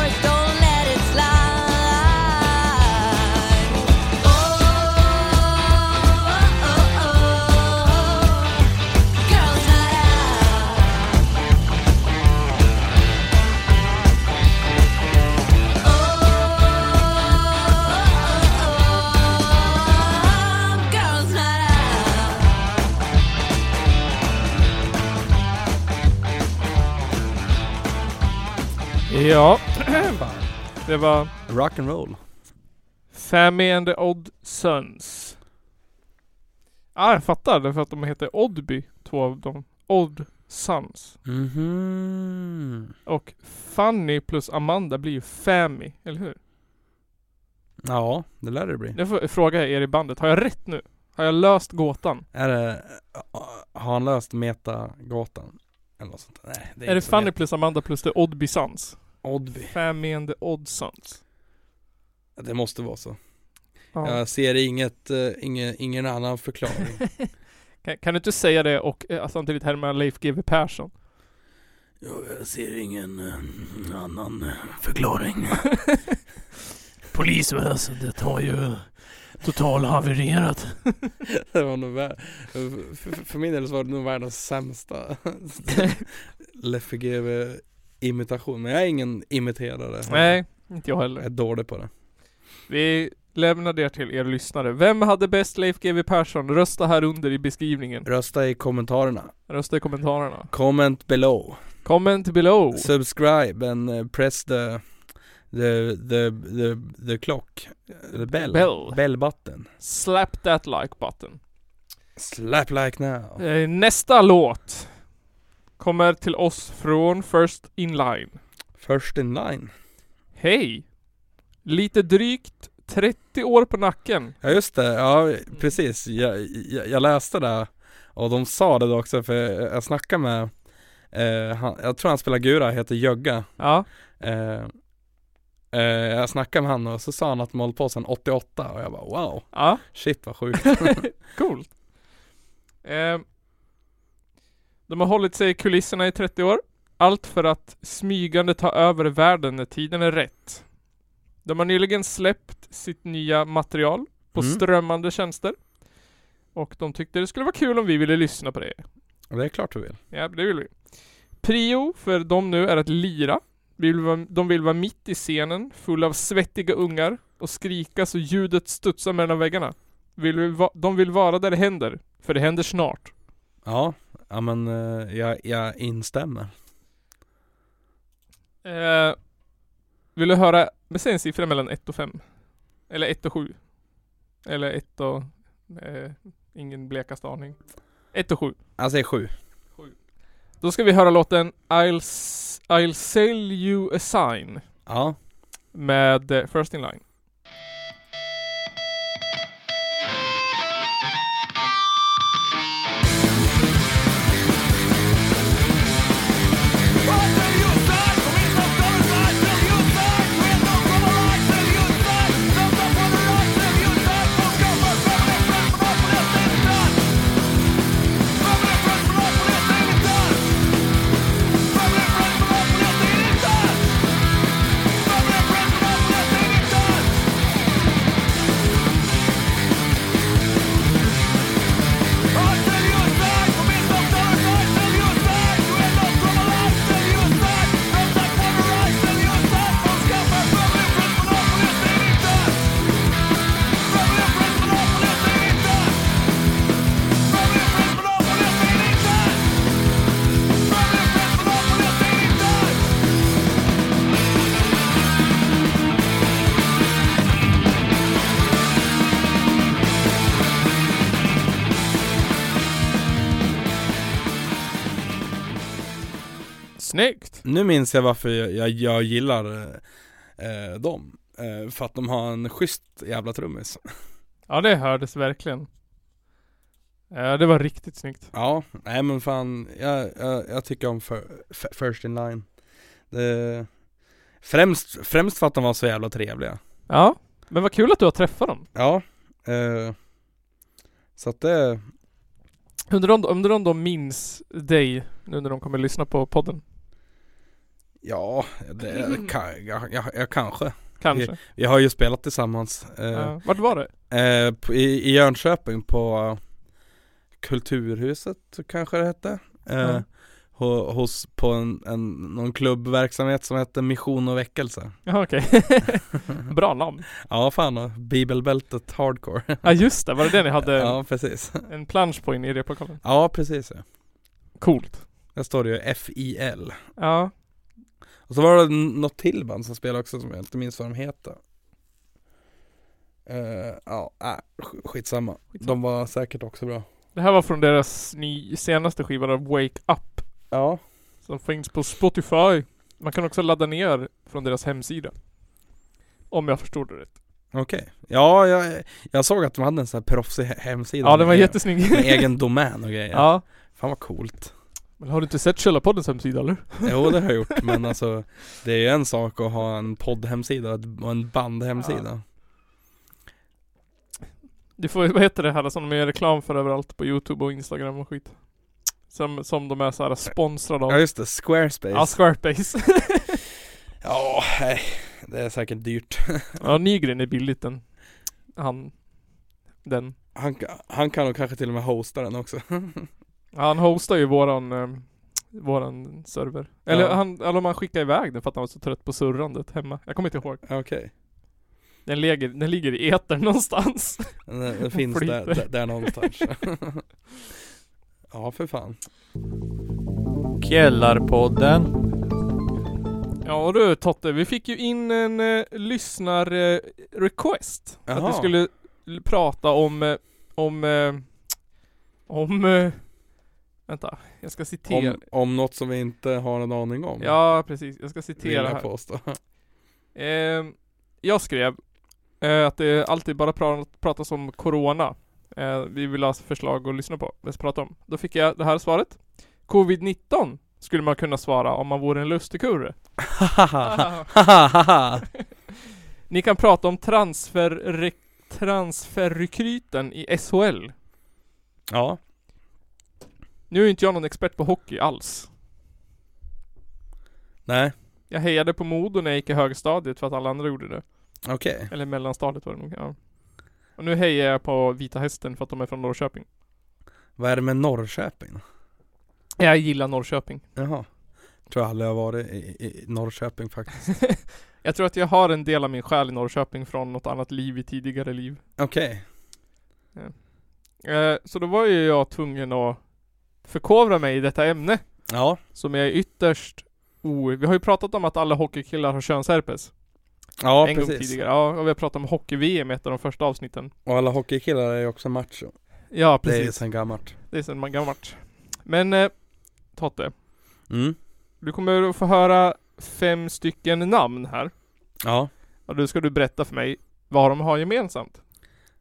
[SPEAKER 1] Ja, det var
[SPEAKER 2] Rock'n'roll.
[SPEAKER 1] Fammy and the Odd Sons. Ja, ah, jag fattar. Därför att de heter Oddby, två av dem. Odd Sons.
[SPEAKER 2] Mhm.
[SPEAKER 1] Och Fanny plus Amanda blir ju Fammy, eller hur?
[SPEAKER 2] Ja, det lär det bli.
[SPEAKER 1] Jag får fråga er i bandet, har jag rätt nu? Har jag löst gåtan?
[SPEAKER 2] Är det, har han löst metagatan? Eller något sånt? Nej, det är,
[SPEAKER 1] är det
[SPEAKER 2] inte så
[SPEAKER 1] Fanny
[SPEAKER 2] met-
[SPEAKER 1] plus Amanda plus the Oddby Sons?
[SPEAKER 2] Oddby.
[SPEAKER 1] Fammy and the Odd Sons.
[SPEAKER 2] Det måste vara så.
[SPEAKER 1] Ja.
[SPEAKER 2] Jag ser inget, ingen, ingen
[SPEAKER 1] <laughs>
[SPEAKER 2] annan förklaring.
[SPEAKER 1] Kan, kan du inte säga det och eh, samtidigt härma Leif GW Persson?
[SPEAKER 2] Jag ser ingen eh, annan förklaring. <laughs>
[SPEAKER 4] Polisväsendet har ju totalhavererat.
[SPEAKER 2] Det var nog vär- för- för, för min del så var det nog
[SPEAKER 1] <laughs>
[SPEAKER 2] världens sämsta Leffe GW imitation. Men jag är ingen imiterare.
[SPEAKER 1] Nej, inte jag
[SPEAKER 2] Jag
[SPEAKER 1] heller.
[SPEAKER 2] är dålig på det.
[SPEAKER 1] Vi lämnar det till er lyssnare. Vem hade bäst Leif GW Persson? Rösta här under i beskrivningen.
[SPEAKER 2] Rösta i kommentarerna.
[SPEAKER 1] Rösta i kommentarerna.
[SPEAKER 2] Comment below.
[SPEAKER 1] Comment below.
[SPEAKER 2] Subscribe and uh, press the the the the, the clock. Eh, The bell.
[SPEAKER 1] Bell.
[SPEAKER 2] Bell button.
[SPEAKER 1] Slap that like button.
[SPEAKER 2] Slap like now.
[SPEAKER 1] Eh, Nästa låt kommer till oss från First Inline.
[SPEAKER 2] First in line.
[SPEAKER 1] Hej! Lite drygt 30 år på nacken.
[SPEAKER 2] Ja just det, ja precis. Jag, jag, jag läste det och de sa det också för jag snackade med, eh, han, jag tror han spelar gura, heter Jögga.
[SPEAKER 1] Ja.
[SPEAKER 2] Eh, eh, jag snackade med han och så sa han att de hållit på sedan 88 och jag bara wow,
[SPEAKER 1] Ja.
[SPEAKER 2] shit vad sjukt. <laughs>
[SPEAKER 1] Coolt. Ehm, de har hållit sig i kulisserna i 30 år. Allt för att smygande ta över världen när tiden är rätt. De har nyligen släppt sitt nya material på
[SPEAKER 2] Mm.
[SPEAKER 1] strömmande tjänster. Och de tyckte det skulle vara kul om vi ville lyssna på det.
[SPEAKER 2] Och det är klart du vill.
[SPEAKER 1] Ja, det vill vi. Prio för dem nu är att lira. Vi vill vara, de vill vara mitt i scenen, full av svettiga ungar och skrika så ljudet studsar mellan väggarna. Vill vi va, de vill vara där det händer, för det händer snart.
[SPEAKER 2] Ja, ja men eh, jag, jag instämmer.
[SPEAKER 1] Eh, vill du höra, men säg en siffra mellan 1 och 5. Eller 1 och 7. Eller 1 och... Eh, ingen blekaste aning. 1 och 7.
[SPEAKER 2] Alltså, Jag säger sju.
[SPEAKER 1] Då ska vi höra låten I'll, s- I'll sell you a sign
[SPEAKER 2] Ja,
[SPEAKER 1] med eh, First In Line. Snyggt!
[SPEAKER 2] nu minns jag varför jag, jag, jag gillar eh, dem. Eh, för att de har en schysst jävla trummis.
[SPEAKER 1] Ja det hördes verkligen. Ja det var riktigt snyggt.
[SPEAKER 2] Ja, nej men fan, jag, jag, jag tycker om för, f- First In Line det, främst, främst för att de var så jävla trevliga
[SPEAKER 1] Ja. Men vad kul att du har träffat dem.
[SPEAKER 2] Ja eh, Så att det,
[SPEAKER 1] Undrar om, undrar om de minns dig nu när de kommer lyssna på podden.
[SPEAKER 2] ja, det, kan, jag, jag, jag kanske
[SPEAKER 1] Kanske.
[SPEAKER 2] Vi har ju spelat tillsammans eh,
[SPEAKER 1] Ja. Vart var det?
[SPEAKER 2] eh, på, i, i Jönköping på eh, Kulturhuset kanske det hette eh,
[SPEAKER 1] Ja.
[SPEAKER 2] ho- Hos, på en, en, någon klubbverksamhet som hette Mission och väckelse
[SPEAKER 1] Jaha okej. Bra namn.
[SPEAKER 2] Ja fan, och bibelbältet hardcore
[SPEAKER 1] Ja just det, var det det ni hade
[SPEAKER 2] Ja precis
[SPEAKER 1] en plansch på inne i replokalen?
[SPEAKER 2] Ja precis ja.
[SPEAKER 1] Coolt.
[SPEAKER 2] Där står det ju FIL
[SPEAKER 1] Ja.
[SPEAKER 2] Och Och så var det n- något till band som spelade också som jag inte minns vad de heter Eh, Ja, äh, sk- skitsamma. De var säkert också bra
[SPEAKER 1] Det här var från deras ny, senaste skiva då, Wake Up.
[SPEAKER 2] Ja,
[SPEAKER 1] Som finns på Spotify. Man kan också ladda ner från deras hemsida. Om jag förstod det rätt.
[SPEAKER 2] okej Ja, jag, jag såg att de hade en sån här proffsig he- hemsida
[SPEAKER 1] Ja den var
[SPEAKER 2] med-
[SPEAKER 1] jättesnygg.
[SPEAKER 2] Med egen domän och grejer
[SPEAKER 1] <laughs> Ja.
[SPEAKER 2] Fan vad coolt
[SPEAKER 1] Men har du inte sett Källarpoddens hemsida eller?
[SPEAKER 2] Jo det har jag gjort men alltså Det är ju en sak att ha en poddhemsida och ett- och en bandhemsida
[SPEAKER 1] Du får, vad heter det här som de gör reklam för överallt på youtube och instagram och skit? Som, som de är såhär sponsrade av.
[SPEAKER 2] Ja just det, Squarespace
[SPEAKER 1] Ja, Squarespace. <laughs>
[SPEAKER 2] Ja, nej, det är säkert dyrt
[SPEAKER 1] ja, Nygren är billigt den. Han. Den.
[SPEAKER 2] han, han kan nog kanske till och med hosta den också <laughs>
[SPEAKER 1] Ja, han hostar ju våran, eh, våran server. Eller
[SPEAKER 2] Ja.
[SPEAKER 1] han, eller om han skickade iväg den för att han var så trött på surrandet hemma. Jag kommer inte ihåg.
[SPEAKER 2] Okej
[SPEAKER 1] Den, läger, den ligger i etern <laughs> någonstans.
[SPEAKER 2] Den, den finns
[SPEAKER 1] Flyter.
[SPEAKER 2] där, där, där någonstans <laughs> Ja för fan
[SPEAKER 5] Källarpodden.
[SPEAKER 1] Ja och du Totte, vi fick ju in en eh, lyssnar-request. att vi
[SPEAKER 2] Jaha.
[SPEAKER 1] skulle l- prata om, eh, om, eh, om, eh, vänta, jag ska citera.
[SPEAKER 2] om, om något som vi inte har en aning om
[SPEAKER 1] Ja precis, jag ska
[SPEAKER 2] vill jag
[SPEAKER 1] citera här.
[SPEAKER 2] påstå.
[SPEAKER 1] Ehm, jag skrev eh, att det alltid bara pra- pratas om Corona. Eh, vi vill ha förslag att lyssna på, att prata om. Då fick jag det här svaret. Covid-19 skulle man kunna svara om man vore en lustigkurre. <laughs> Ni kan prata om transfer, transferrekryten i SHL.
[SPEAKER 2] Ja,
[SPEAKER 1] Nu är inte jag någon expert på hockey alls.
[SPEAKER 2] nej,
[SPEAKER 1] Jag hejade på Modo när jag gick i högstadiet för att alla andra gjorde det.
[SPEAKER 2] okej
[SPEAKER 1] Eller mellanstadiet var det nog. Ja. Och nu hejar jag på Vita Hästen för att de är från Norrköping.
[SPEAKER 2] Vad är det med Norrköping?
[SPEAKER 1] Jag gillar Norrköping.
[SPEAKER 2] Jaha Tror jag aldrig jag har varit i, i, i Norrköping faktiskt
[SPEAKER 1] Jag tror att jag har en del av min själ i Norrköping från något annat liv i tidigare liv.
[SPEAKER 2] Okej
[SPEAKER 1] Eh, så då var ju jag tvungen att förkovra mig i detta ämne.
[SPEAKER 2] Ja,
[SPEAKER 1] Som är ytterst o... Vi har ju pratat om att alla hockeykillar har könsherpes.
[SPEAKER 2] ja
[SPEAKER 1] en gång
[SPEAKER 2] precis
[SPEAKER 1] tidigare. Ja, och vi har pratat om hockey-VM i ett av de första avsnitten.
[SPEAKER 2] Och alla hockeykillar är ju också macho
[SPEAKER 1] Ja,
[SPEAKER 2] Det är ju
[SPEAKER 1] precis.
[SPEAKER 2] sen gammalt
[SPEAKER 1] Det är sedan gammalt. Men eh, Totte,
[SPEAKER 2] Mm,
[SPEAKER 1] du kommer att få höra fem stycken namn här.
[SPEAKER 2] ja,
[SPEAKER 1] Och då ska du berätta för mig vad de har gemensamt.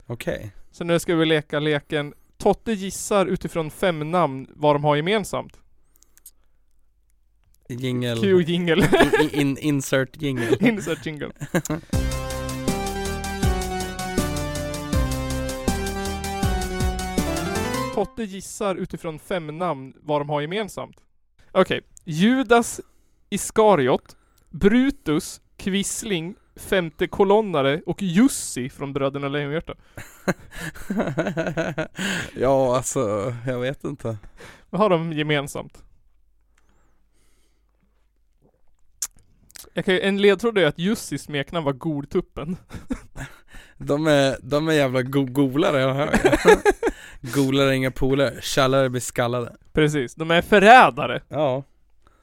[SPEAKER 2] okej
[SPEAKER 1] Så nu ska vi leka leken Totte gissar utifrån fem namn vad de har gemensamt.
[SPEAKER 2] Jingel
[SPEAKER 1] Cue jingle.
[SPEAKER 2] in, in, Insert jingel
[SPEAKER 1] <laughs> Insert jingle. Totte gissar utifrån fem namn vad de har gemensamt. Okej. Judas Iskariot, Brutus, Quisling, Femte kolonnare och Jussi från Bröderna Lejonhjärta.
[SPEAKER 2] <laughs> ja, alltså, jag vet inte.
[SPEAKER 1] Vad har de gemensamt? Jag kan, ju- en ledtråd är att Jussis smeknamn var Godtuppen.
[SPEAKER 2] De är, de är jävla go- golare,
[SPEAKER 1] <laughs>
[SPEAKER 2] jag hör ju. Golare, inga polare. Tjallare blir skallade.
[SPEAKER 1] Precis, de är förrädare.
[SPEAKER 2] Ja.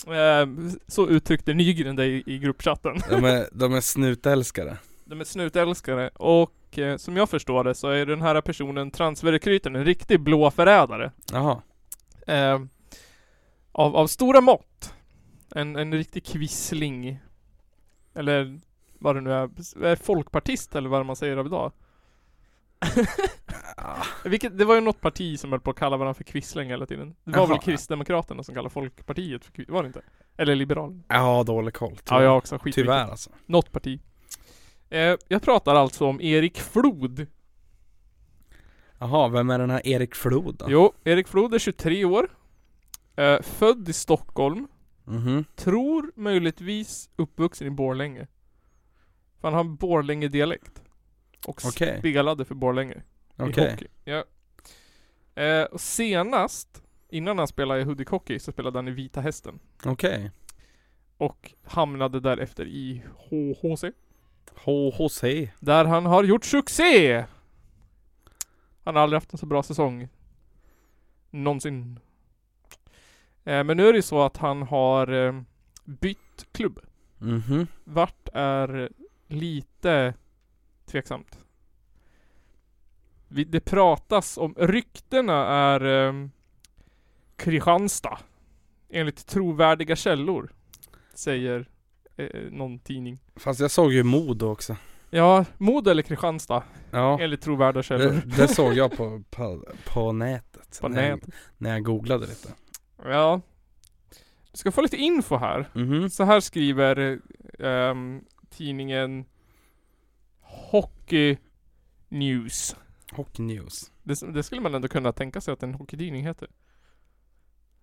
[SPEAKER 1] Eh, Så uttryckte Nygren det i, i gruppchatten.
[SPEAKER 2] De är, de är snutälskare.
[SPEAKER 1] <laughs> De är snutälskare och eh, som jag förstår det så är den här personen, transferrekryten, en riktig blå förrädare.
[SPEAKER 2] Jaha.
[SPEAKER 1] Eh, av, av stora mått. En, en riktig kvissling. Eller vad det nu är. är folkpartist eller vad man säger av <laughs> idag. Eh, Vilket, det var ju något parti som höll på att kalla varandra för kvissling hela tiden. Det var
[SPEAKER 2] Jaha.
[SPEAKER 1] väl Kristdemokraterna som kallade Folkpartiet för kvissling, var det inte? Eller Liberalerna?
[SPEAKER 2] Ja, dålig koll.
[SPEAKER 1] Ja,
[SPEAKER 2] Tyvärr,
[SPEAKER 1] jag har också. Skit
[SPEAKER 2] tyvärr alltså.
[SPEAKER 1] Något parti. Eh, jag pratar alltså om Erik Flod.
[SPEAKER 2] Jaha, vem är den här Erik Flod då?
[SPEAKER 1] Jo, Erik Flod är 23 år. Eh, född i Stockholm.
[SPEAKER 2] Mhm.
[SPEAKER 1] Tror möjligtvis uppvuxen i Borlänge. För han har en Borlänge-dialekt. Och
[SPEAKER 2] Okej.
[SPEAKER 1] spelade för Borlänge. I
[SPEAKER 2] Okej.
[SPEAKER 1] hockey. Ja. Eh, och senast, innan han spelade i Hudik Hockey, så spelade han i Vita Hästen.
[SPEAKER 2] Okej.
[SPEAKER 1] Och hamnade därefter i HHC.
[SPEAKER 2] HHC.
[SPEAKER 1] Där han har gjort succé! Han har aldrig haft en så bra säsong. Någonsin. Eh, men nu är det ju så att han har eh, bytt klubb.
[SPEAKER 2] Mhm.
[SPEAKER 1] vart är lite tveksamt. Vi- Det pratas om, ryktena är um, Kristianstad. Enligt trovärdiga källor. Säger eh, någon tidning.
[SPEAKER 2] Fast jag såg ju Modo också
[SPEAKER 1] Ja, Modo eller Kristianstad.
[SPEAKER 2] Ja,
[SPEAKER 1] Enligt trovärdiga källor.
[SPEAKER 2] det, det såg jag på, på, på nätet
[SPEAKER 1] <laughs> På
[SPEAKER 2] när,
[SPEAKER 1] nätet.
[SPEAKER 2] Jag, när jag googlade lite
[SPEAKER 1] Ja. Du ska få lite info här.
[SPEAKER 2] Mhm.
[SPEAKER 1] Så här skriver ehm, tidningen Hockey News.
[SPEAKER 2] Hockey News
[SPEAKER 1] Det, det skulle man ändå kunna tänka sig att en hockeytidning heter. <laughs>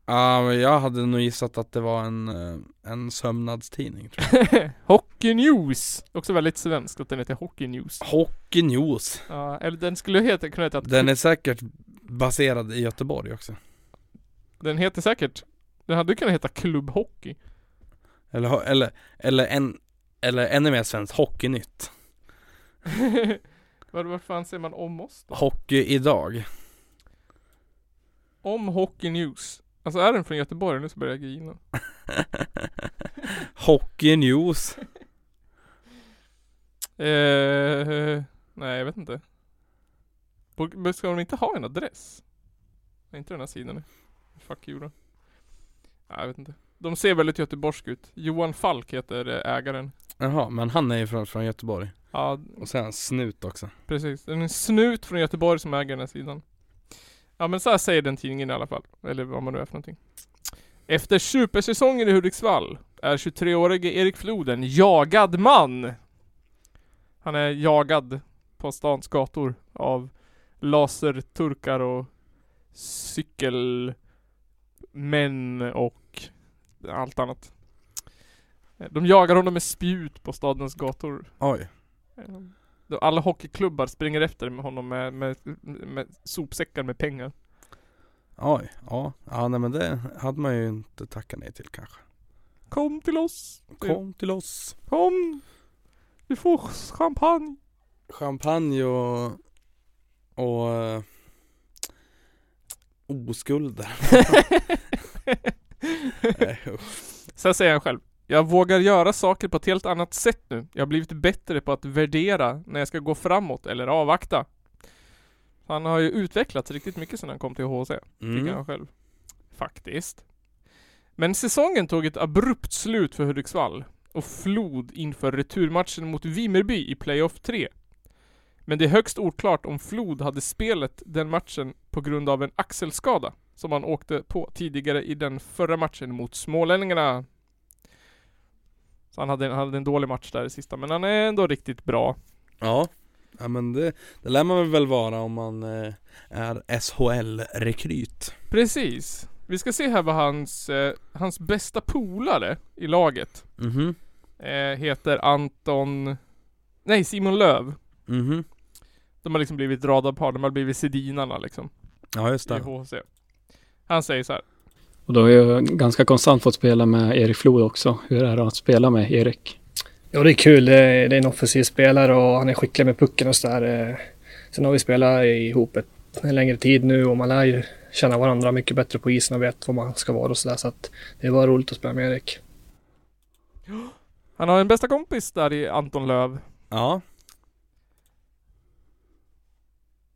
[SPEAKER 2] Ja, men jag hade nog gissat att det var en, eh, en sömnadstidning tror
[SPEAKER 1] Hockey News! Också väldigt svenskt att den heter Hockey News.
[SPEAKER 2] jag. Hockey News
[SPEAKER 1] Ja, eller den skulle heta, kunna heta att
[SPEAKER 2] Den är säkert baserad i Göteborg också
[SPEAKER 1] den heter säkert den hade kunnat heta Klubb <laughs> Hockey.
[SPEAKER 2] Eller, ho- eller, eller en eller ännu mer svenskt, Hockeynytt
[SPEAKER 1] Vad vad fan säger man om oss då?
[SPEAKER 2] Hockey idag <laughs>
[SPEAKER 1] Om Hockey News. Alltså är den från Göteborg? Nu så börjar jag grina.
[SPEAKER 2] Hockey News
[SPEAKER 1] Eh, nej, jag vet inte. Borde- men Ska de inte ha en adress? Nej, inte den här sidan. Fuck you då. Nej, jag vet inte. De ser väldigt göteborgsk ut. Johan Falk heter eh, ägaren.
[SPEAKER 2] Jaha, men han är ju från, från Göteborg
[SPEAKER 1] Ja,
[SPEAKER 2] Och sen snut också
[SPEAKER 1] precis. Det är en snut från Göteborg som äger den här sidan. Ja, men så här säger den tidningen i alla fall. Eller vad man nu är för någonting. Efter supersäsongen i Hudiksvall är 23-årige Erik Flod en jagad man. Han är jagad på stans gator av laserturkar och cykelmän och allt annat. De jagar honom med spjut på stadens gator.
[SPEAKER 2] Oj
[SPEAKER 1] Då Alla hockeyklubbar springer efter med honom med, med, med sopsäckar med pengar.
[SPEAKER 2] Oj, ja. Ja nej men det hade man ju inte tackat nej till kanske.
[SPEAKER 1] Kom till oss!
[SPEAKER 2] Kom till oss.
[SPEAKER 1] Kom! Du får champagne!
[SPEAKER 2] Champagne och, och eh, <laughs> oskulder. Nej, usch.
[SPEAKER 1] Sen säger han själv. Jag vågar göra saker på ett helt annat sätt nu. Jag har blivit bättre på att värdera när jag ska gå framåt eller avvakta. Han har ju utvecklats riktigt mycket sedan han kom till HC. tycker
[SPEAKER 2] mm.
[SPEAKER 1] han själv. Faktiskt. Men säsongen tog ett abrupt slut för Hudiksvall och Flod inför returmatchen mot Vimmerby i playoff 3. Men det är högst oklart om Flod hade spelet den matchen på grund av en axelskada som han åkte på tidigare i den förra matchen mot Smålänningarna. Så han hade, han hade en dålig match där i sista, men han är ändå riktigt bra.
[SPEAKER 2] Ja. Ja men det, det lär man väl vara om man eh, är SHL-rekryt.
[SPEAKER 1] Precis. Vi ska se här vad hans, eh, hans bästa polare i laget
[SPEAKER 2] Mhm.
[SPEAKER 1] eh, heter Anton... Nej, Simon Löv.
[SPEAKER 2] Mhm.
[SPEAKER 1] De har liksom blivit radarpar, de har blivit Sedinarna liksom.
[SPEAKER 2] Ja just
[SPEAKER 1] I
[SPEAKER 2] det.
[SPEAKER 1] HC. Han säger så här.
[SPEAKER 5] Och då har jag ganska konstant fått spela med Erik Flod också. Hur är det att spela med Erik?
[SPEAKER 6] Ja, det är kul. Det är, det är en offensiv spelare och han är skicklig med pucken och sådär. Eh, Sen har vi spelat ihop ett, en längre tid nu och man lär ju känna varandra mycket bättre på isen och vet vad man ska vara och sådär. Så att det var roligt att spela med Erik.
[SPEAKER 1] Han har en bästa kompis där i Anton Löv.
[SPEAKER 2] Ja.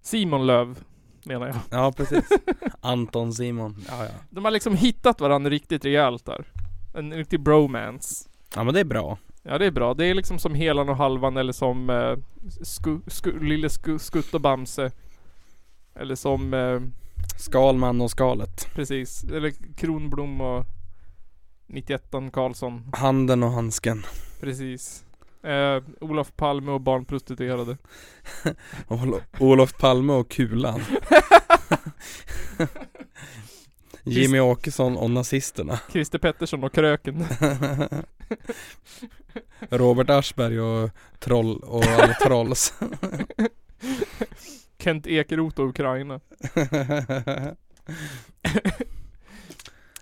[SPEAKER 1] Simon Löv, menar jag.
[SPEAKER 2] Ja precis. <laughs>
[SPEAKER 1] <laughs>
[SPEAKER 2] Anton Simon. Ja ja.
[SPEAKER 1] De har liksom hittat varandra riktigt rejält där. En riktig bromance.
[SPEAKER 2] Ja men det är bra.
[SPEAKER 1] Ja det är bra. Det är liksom som Helan och Halvan eller som eh, sku, sku, Lille sku, Skutt och Bamse. Eller som eh,
[SPEAKER 2] Skalman och skalet.
[SPEAKER 1] precis, eller Kronblom och 91 Karlsson.
[SPEAKER 2] Handen och handsken.
[SPEAKER 1] Precis. Eh, Olof Palme och
[SPEAKER 2] <laughs>
[SPEAKER 1] barnprostituerade.
[SPEAKER 2] Ol- Olof Palme och <laughs> Kulan Jimmy Åkesson och nazisterna <laughs>
[SPEAKER 1] Christer Pettersson och kröken.
[SPEAKER 2] Robert Aschberg och troll och alla trolls <laughs>
[SPEAKER 1] Kent Ekeroth och Ukraina. <laughs>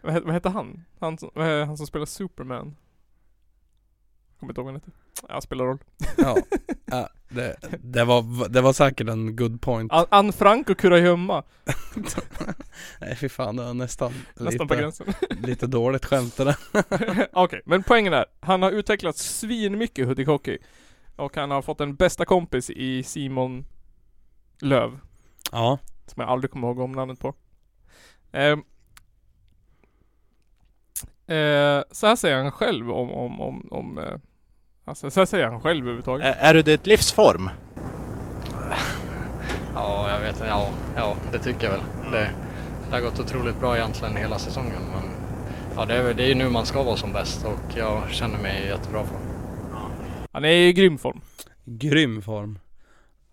[SPEAKER 1] vad, hette, vad hette han? Han som, eh, han som spelar Superman? Kommer kommer inte ihåg vad han heter. Ja, spelar roll.
[SPEAKER 2] Ja, ja det, det, var, det var säkert en good point
[SPEAKER 1] <laughs> An- Anne Frank och Kurragömma.
[SPEAKER 2] <laughs> Nej fy fan, det var nästan,
[SPEAKER 1] Nästan på
[SPEAKER 2] lite,
[SPEAKER 1] gränsen.
[SPEAKER 2] lite dåligt skämt det där
[SPEAKER 1] <laughs> Okej, men poängen är, han har utvecklat svinmycket Hudik Hockey. Och han har fått en bästa kompis i Simon Löv
[SPEAKER 2] Ja,
[SPEAKER 1] Som jag aldrig kommer ihåg om namnet på. Ehm. Eh, så här säger han själv om, om, om, om eh, alltså, så här säger han själv överhuvudtaget.
[SPEAKER 7] Ä- Är du ditt livsform?
[SPEAKER 8] Ja, jag vet inte. Ja, ja, det tycker jag väl. Det, det har gått otroligt bra egentligen hela säsongen. Men ja, det, är, väl- det är ju nu man ska vara som bäst och jag känner mig i jättebra för
[SPEAKER 1] Han är i grym form.
[SPEAKER 2] grym form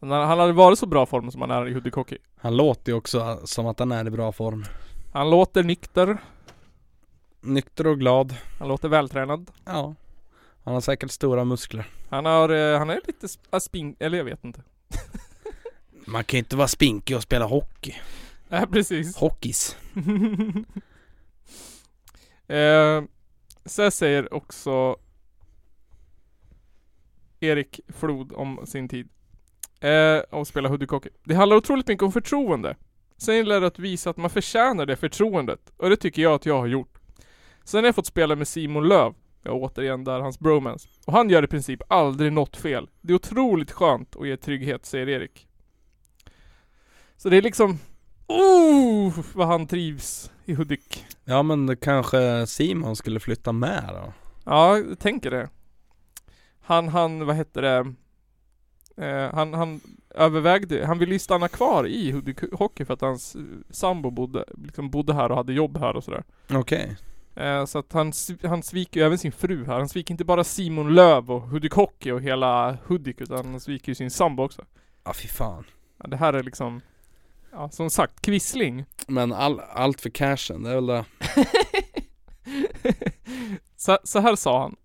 [SPEAKER 1] Han har han har varit så bra form som han är i Hudik Hockey.
[SPEAKER 2] Han låter ju också som att han är i bra form
[SPEAKER 1] Han låter nykter,
[SPEAKER 2] Nykter och glad
[SPEAKER 1] han låter vältränad.
[SPEAKER 2] Ja Han har säkert stora muskler
[SPEAKER 1] Han har, eh, han är lite sp- äh, spink, eller jag vet inte. <laughs>
[SPEAKER 2] Man kan ju inte vara spinkig och spela hockey
[SPEAKER 1] Nej precis.
[SPEAKER 2] Hockeys
[SPEAKER 1] <laughs> eh, så här säger också Erik Flod om sin tid. Eh, och spela Hudikocke. Det handlar otroligt mycket om förtroende. Sen gäller det att visa att man förtjänar det förtroendet. Och det tycker jag att jag har gjort. Sen har jag fått spela med Simon Löv. Jag återigen där hans bromance. Och han gör i princip aldrig något fel. Det är otroligt skönt och ger trygghet, säger Erik. Så det är liksom... Oh, vad han trivs i Hudik.
[SPEAKER 2] Ja men det kanske Simon skulle flytta med då
[SPEAKER 1] Ja, jag tänker det. Han, han, vad hette det? Eh, han, han övervägde, han ville ju stanna kvar i Hudik Hockey för att hans eh, sambo bodde, liksom bodde här och hade jobb här och sådär.
[SPEAKER 2] Okej
[SPEAKER 1] Eh, så att han, sv- han sviker ju även sin fru här. Han sviker inte bara Simon Löv och Hudik Hockey och hela Hudik utan han sviker ju sin sambo också.
[SPEAKER 2] Ja fy fan
[SPEAKER 1] Ja, det här är liksom, ja som sagt, kvissling.
[SPEAKER 2] Men all, allt för cashen, det är väl det
[SPEAKER 1] <laughs> så, så här sa han.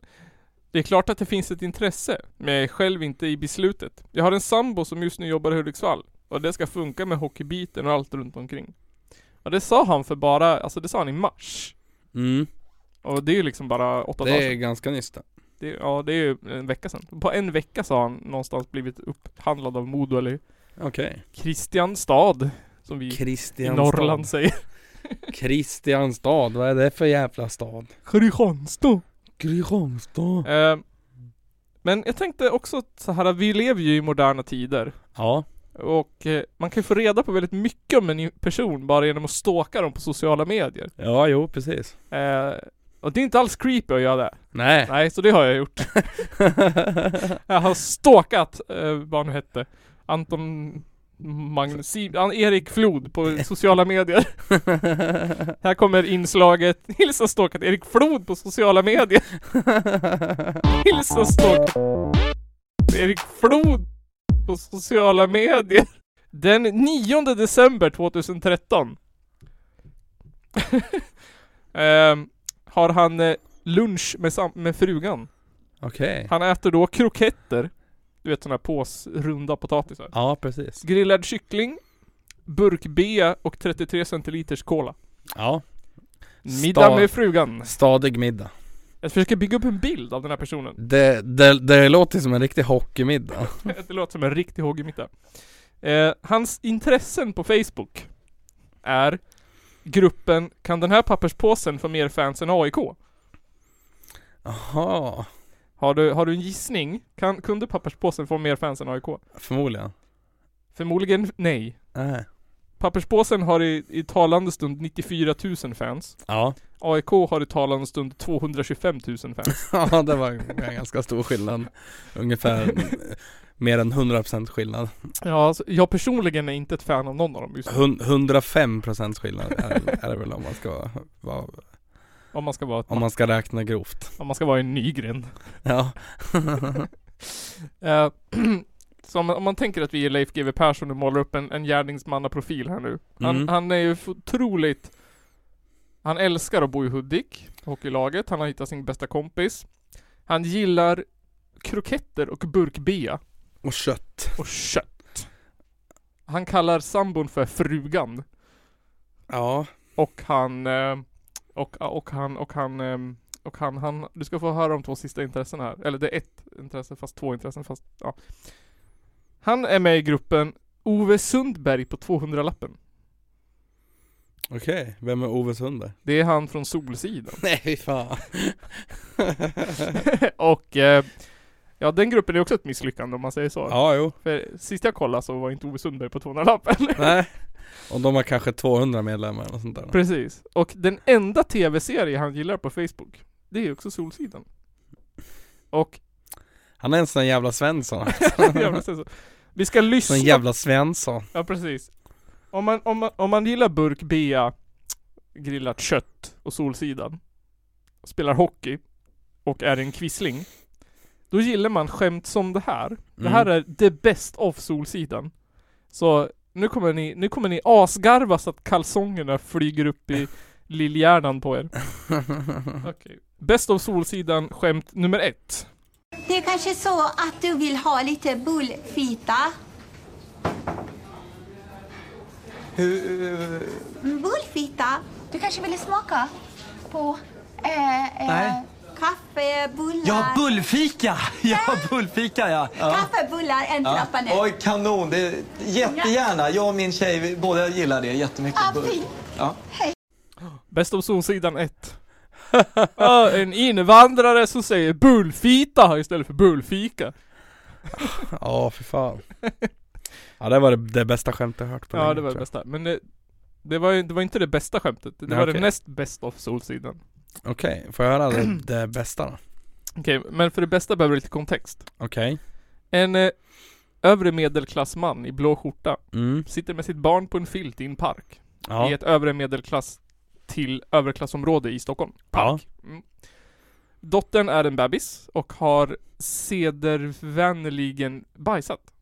[SPEAKER 1] Det är klart att det finns ett intresse, men jag är själv inte i beslutet. Jag har en sambo som just nu jobbar i Hudiksvall och det ska funka med hockeybiten och allt runt omkring. Och det sa han för bara, alltså det sa han i mars.
[SPEAKER 2] Mm,
[SPEAKER 1] Och det är ju liksom bara åtta dagar
[SPEAKER 2] det är
[SPEAKER 1] sedan.
[SPEAKER 2] ganska nyss det
[SPEAKER 1] Det, ja, det är ju en vecka sedan. På en vecka sa han någonstans blivit upphandlad av Modo eller
[SPEAKER 2] Okej
[SPEAKER 1] Kristianstad. Som vi i
[SPEAKER 2] Kristianstad
[SPEAKER 1] Norrland säger. <laughs>
[SPEAKER 2] Kristianstad, vad är det för jävla stad?
[SPEAKER 1] Kristianstad.
[SPEAKER 2] Kristianstad
[SPEAKER 1] Eh, men jag tänkte också så här, vi lever ju i moderna tider.
[SPEAKER 2] Ja,
[SPEAKER 1] Och eh, man kan ju få reda på väldigt mycket om en person bara genom att stalka dem på sociala medier.
[SPEAKER 2] ja jo precis
[SPEAKER 1] Eh, och det är inte alls creepy att göra det.
[SPEAKER 2] Nej <laughs>
[SPEAKER 1] Nej, så det har jag gjort. Jag har stalkat, eh, vad han nu hette, Anton Magnus, Si- An- Erik Flod på sociala medier. Här kommer inslaget Hilsa stalkat Erik Flod på sociala medier. Hilsa stalkat Erik Flod på sociala medier. Den 9 december 2013 <laughs> ehm, har han eh, lunch med, sam- med frugan.
[SPEAKER 2] Okej
[SPEAKER 1] Han äter då kroketter. Du vet sådana här påsrunda potatisar.
[SPEAKER 2] Ja precis
[SPEAKER 1] Grillad kyckling, burk B och 33 centiliters cola.
[SPEAKER 2] Ja
[SPEAKER 1] Middag med frugan.
[SPEAKER 2] Stadig middag
[SPEAKER 1] Jag försöker bygga upp en bild av den här
[SPEAKER 2] <laughs>
[SPEAKER 1] personen.
[SPEAKER 2] Det, det, det låter som en riktig hockeymiddag
[SPEAKER 1] Det låter som en riktig håg i mitten. Eh, hans intressen på Facebook är gruppen Kan den här papperspåsen få mer fans än AIK?
[SPEAKER 2] Jaha
[SPEAKER 1] Har du, har du en gissning? Kan, kunde papperspåsen få mer fans än AIK?
[SPEAKER 2] Förmodligen
[SPEAKER 1] Förmodligen nej.
[SPEAKER 2] Nej
[SPEAKER 1] Papperspåsen har i, i talande stund 94 000 fans.
[SPEAKER 2] Ja
[SPEAKER 1] AIK har i talande stund 225 000 fans.
[SPEAKER 2] <laughs> Ja det var en ganska stor skillnad Ungefär mer än 100% skillnad
[SPEAKER 1] Ja, alltså, jag personligen är inte ett fan av någon av dem just nu,
[SPEAKER 2] Hun- 105 procents skillnad är, är det väl om man ska vara,
[SPEAKER 1] om man ska vara,
[SPEAKER 2] om man ska räkna grovt.
[SPEAKER 1] om man ska vara en Nygren.
[SPEAKER 2] Ja.
[SPEAKER 1] Eh, <clears throat> så om, man- om man tänker att vi är Leif GW Persson och målar upp en, en gärningsmannaprofil här nu. Han,
[SPEAKER 2] Mm.
[SPEAKER 1] han är ju f- otroligt han älskar att bo i Hudik, hockeylaget. Han har hittat sin bästa kompis. Han gillar kroketter och burkbea.
[SPEAKER 2] <laughs> Och kött.
[SPEAKER 1] och kött. Han kallar sambon för frugan
[SPEAKER 2] Ja.
[SPEAKER 1] och han eh, och, och han och han ehm, och han, han, du ska få höra om två sista intressen här. Eller det är ett intresse fast två intressen fast, ja. Han är med i gruppen Ove Sundberg på 200-lappen.
[SPEAKER 2] Okej, vem är Ove Sunder?
[SPEAKER 1] Det är han från
[SPEAKER 2] <laughs>
[SPEAKER 1] Solsidan.
[SPEAKER 2] Nej
[SPEAKER 1] <laughs>
[SPEAKER 2] fy fan
[SPEAKER 1] och eh, ja, den gruppen är också ett misslyckande om man säger så.
[SPEAKER 2] Ja jo,
[SPEAKER 1] För sist jag kollade så var inte Ove Sundberg på 200-lappen.
[SPEAKER 2] nej Och de har kanske 200 medlemmar eller något sånt där
[SPEAKER 1] <laughs> Precis. Och den enda tv-serie han gillar på Facebook, det är också Solsidan. Och,
[SPEAKER 2] Han är en sån
[SPEAKER 1] <laughs>
[SPEAKER 2] jävla Svensson
[SPEAKER 1] jag måste säga så. vi ska lyssna.
[SPEAKER 2] Sån jävla Svensson
[SPEAKER 1] Ja precis. Om man, om man, om man gillar burk bea, grillat kött och Solsidan, spelar hockey och är en kvissling, då gillar man skämt som det här. Det
[SPEAKER 2] Mm.
[SPEAKER 1] här är the best of Solsidan. Så nu kommer ni, nu kommer ni asgarva så att kalsongerna flyger upp i lillhjärnan på er. Okej. Best of Solsidan skämt nummer ett.
[SPEAKER 7] Det är kanske så att du vill ha lite bullfita? Hur? Bullfita?
[SPEAKER 9] Du kanske ville smaka på... Eh, eh,
[SPEAKER 10] Nej.
[SPEAKER 7] Kaffebullar?
[SPEAKER 10] Ja, bullfika! <laughs> Ja, bullfika ja. ja.
[SPEAKER 7] Kaffebullar, en
[SPEAKER 10] Ja.
[SPEAKER 7] trappa ner.
[SPEAKER 10] Oj, kanon! Det, jättegärna. Jag och min tjej, vi båda gillar det jättemycket.
[SPEAKER 7] Ja, fint.
[SPEAKER 10] Ja.
[SPEAKER 1] Bäst om Solsidan 1. ja, en invandrare som säger bullfita istället för bullfika.
[SPEAKER 2] Ja fy fan Ja det var det, det bästa skämt jag hört på
[SPEAKER 1] Ja,
[SPEAKER 2] länge,
[SPEAKER 1] det var det
[SPEAKER 2] tror
[SPEAKER 1] bästa. Men det, det, var, ju- det var inte det bästa skämtet. Det
[SPEAKER 2] Nej,
[SPEAKER 1] var det
[SPEAKER 2] okej.
[SPEAKER 1] näst bästa av Solsidan.
[SPEAKER 2] jag. Okej, får jag
[SPEAKER 1] <clears throat>
[SPEAKER 2] höra det, det bästa då?
[SPEAKER 1] Okej, men för det bästa behöver du lite kontext.
[SPEAKER 2] Okej
[SPEAKER 1] En eh, övre medelklassman i blå skjorta
[SPEAKER 2] mm.
[SPEAKER 1] sitter med sitt barn på en filt i en park. I
[SPEAKER 2] Ja,
[SPEAKER 1] ett övre medelklass till överklassområde i Stockholm. Mm.
[SPEAKER 2] ja,
[SPEAKER 1] Dottern är en bebis och har sedervänligen bajsat.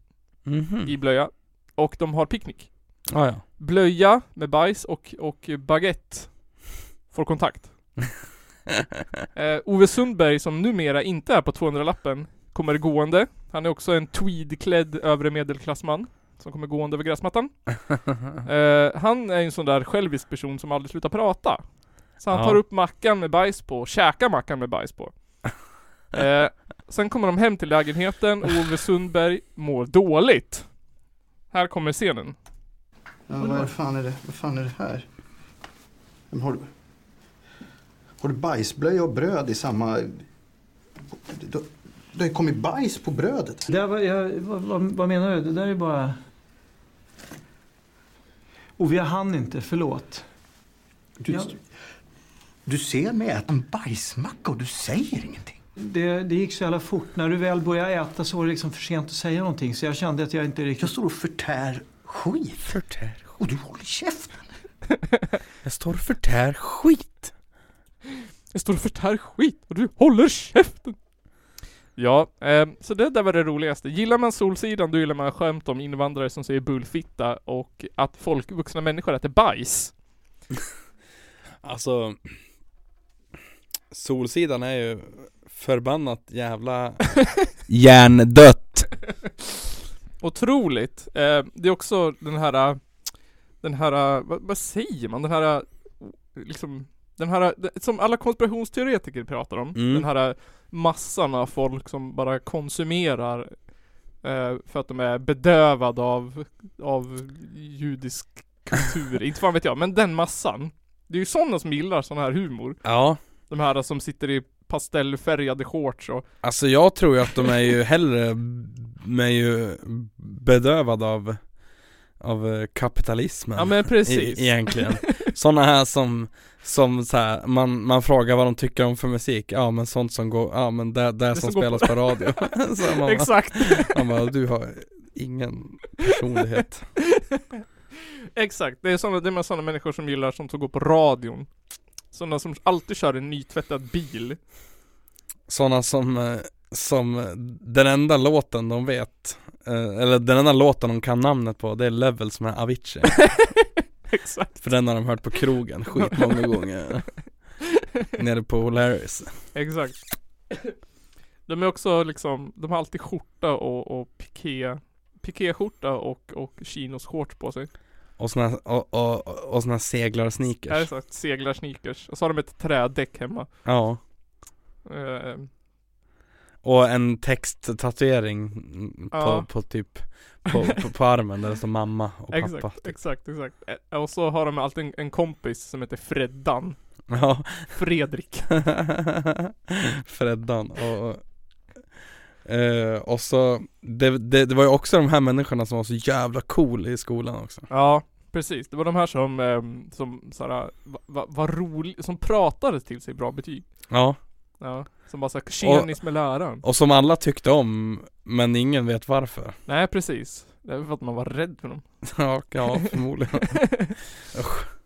[SPEAKER 2] mhm,
[SPEAKER 1] i blöja och de har picknick. <laughs>
[SPEAKER 2] ja, ja.
[SPEAKER 1] Blöja med bajs och, och baguette får kontakt. eh, Ove Sundberg som numera inte är på 200-lappen kommer gående. Han är också en tweedklädd övre medelklassman som kommer gående över gräsmattan. eh, han är en sån där självisk person som aldrig slutar prata. Så han
[SPEAKER 2] Ja.
[SPEAKER 1] tar upp mackan med bajs på och käkar mackan med bajs på. Eh, sen kommer de hem till lägenheten och Ove Sundberg mår dåligt. Här kommer scenen.
[SPEAKER 11] Ja, vad, är det fan är det, vad fan är det här? Men har, du, har du bajsblöja och bröd i samma... Det, det har kommit bajs på brödet.
[SPEAKER 10] Det var, vad, menar du? Det där är bara... Och vi hann inte, förlåt.
[SPEAKER 11] Du,
[SPEAKER 10] Ja.
[SPEAKER 11] du ser mig äta en bajsmacka och du säger ingenting.
[SPEAKER 10] Det, det gick så jävla fort. När du väl började äta så var det liksom för sent att säga någonting. Så jag kände att jag inte
[SPEAKER 11] Jag
[SPEAKER 10] riktigt...
[SPEAKER 11] står och förtär skit. Förtär Och du håller käften.
[SPEAKER 2] Jag står och förtär skit
[SPEAKER 1] Jag står och förtär skit och du håller käften! Ja, ehm, så det där var det roligaste. Gillar man Solsidan, då gillar man skämt om invandrare som säger bullfitta och att folk, vuxna människor äter bajs. <laughs>
[SPEAKER 2] Alltså Solsidan är ju förbannat jävla Hjärndött
[SPEAKER 1] <laughs> Otroligt! Eh, det är också den här, eh, den här, eh, vad, vad säger man? Den här, eh, liksom, den här, eh, det- som alla konspirationsteoretiker pratar om.
[SPEAKER 2] Mm.
[SPEAKER 1] Den här eh, massan av folk som bara konsumerar eh, för att de är bedövade av, av judisk kultur. Inte fan vet jag, men den massan. Det är ju sådana som gillar sån här humor.
[SPEAKER 2] Ja
[SPEAKER 1] De här eh, som sitter i pastellfärgade shorts och
[SPEAKER 2] Alltså jag tror ju att de är ju hellre, de är ju bedövade av, av eh, kapitalismen
[SPEAKER 1] Ja men precis.
[SPEAKER 2] <laughs> e- egentligen Sådana här som, som så här, man, man frågar vad de tycker om för musik, ja men sånt som går, ja men det, det, som,
[SPEAKER 1] som går
[SPEAKER 2] spelas på, radio <laughs> så man,
[SPEAKER 1] <laughs>
[SPEAKER 2] bara,
[SPEAKER 1] Exakt.
[SPEAKER 2] man bara, du har ingen personlighet
[SPEAKER 1] <laughs> Exakt, det är, såna, det är med sådana människor som gillar sånt som går på radion. Sådana som alltid kör en nytvättad
[SPEAKER 2] <laughs>
[SPEAKER 1] bil.
[SPEAKER 2] Sådana som, eh, som eh, den enda låten de vet, eh, eller den enda låten de kan namnet på, det är Levels
[SPEAKER 1] <laughs>
[SPEAKER 2] med Avicii
[SPEAKER 1] Exakt.
[SPEAKER 2] För den har de hört på krogen
[SPEAKER 1] <laughs>
[SPEAKER 2] skitmånga gånger Nere på O'Larrys
[SPEAKER 1] Exakt. De är också liksom, de har alltid skjorta och, och piké. Pikéskjorta och, och chinos shorts på sig.
[SPEAKER 2] Och såna, och, och, och såna
[SPEAKER 1] Är det
[SPEAKER 2] seglarsneakers
[SPEAKER 1] så? Seglar sneakers. Och så har de ett trädäck hemma.
[SPEAKER 2] Ja
[SPEAKER 1] Eh,
[SPEAKER 2] Och en texttatuering mm, på,
[SPEAKER 1] Ja.
[SPEAKER 2] på typ på, på, på armen där det står mamma och
[SPEAKER 1] <laughs>
[SPEAKER 2] pappa typ.
[SPEAKER 1] Exakt, exakt, exakt. Eh, Och så har de alltid en, en kompis som heter Freddan.
[SPEAKER 2] Ja.
[SPEAKER 1] Fredrik.
[SPEAKER 2] <laughs> Freddan och eh, och så, det, det, det var ju också de här människorna som var så jävla cool i skolan också
[SPEAKER 1] Ja, precis. Det var de här som, ehm, som såhär, va- va- var rolig, som pratade till sig bra betyg.
[SPEAKER 2] Ja
[SPEAKER 1] Ja, som bara såhär, tjenis med läraren.
[SPEAKER 2] Och som alla tyckte om, men ingen
[SPEAKER 1] <laughs>
[SPEAKER 2] vet varför
[SPEAKER 1] Nej, precis. Det är för att man var rädd för dem.
[SPEAKER 2] Ja, ja förmodligen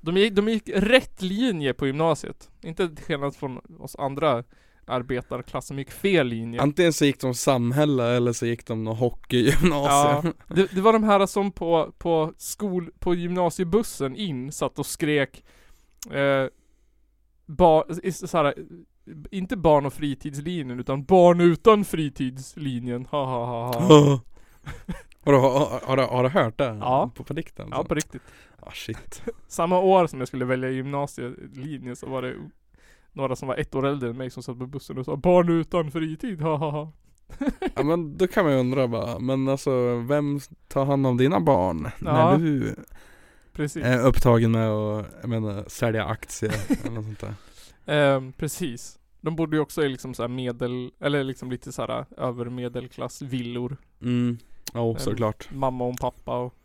[SPEAKER 1] De gick, de gick rätt linje på gymnasiet. Inte till skillnad från oss andra arbetarklass som gick fel linje.
[SPEAKER 2] <laughs> Antingen så gick de samhälle eller så gick de något hockeygymnasium
[SPEAKER 1] Ja, det, det var de här som på, på skol, på gymnasiebussen in satt och skrek eh, ba, i- så här, inte barn och fritidslinjen utan barn utan fritidslinjen, ha ha ha ha.
[SPEAKER 2] <laughs> Har, du, har, har, du- har du hört det?
[SPEAKER 1] Ja.
[SPEAKER 2] På, på dikten?
[SPEAKER 1] Ja på riktigt.
[SPEAKER 2] Ah shit
[SPEAKER 1] Samma år som jag skulle välja gymnasielinjen så var det några som var ett år äldre än mig som satt på bussen och sa barn utan fritid, ha ha ha. <laughs>
[SPEAKER 2] Ja men då kan man ju undra bara, men alltså vem tar hand om dina barn?
[SPEAKER 1] Ja.
[SPEAKER 2] När du
[SPEAKER 1] Precis.
[SPEAKER 2] är Eh, upptagen med att, jag menar, sälja aktier <laughs> eller något sånt där
[SPEAKER 1] Ehm, precis. De bodde ju också i liksom så här medel, eller liksom lite så här övermedelklassvillor.
[SPEAKER 2] Mm, ja
[SPEAKER 1] Ehm,
[SPEAKER 2] såklart
[SPEAKER 1] Mamma och pappa och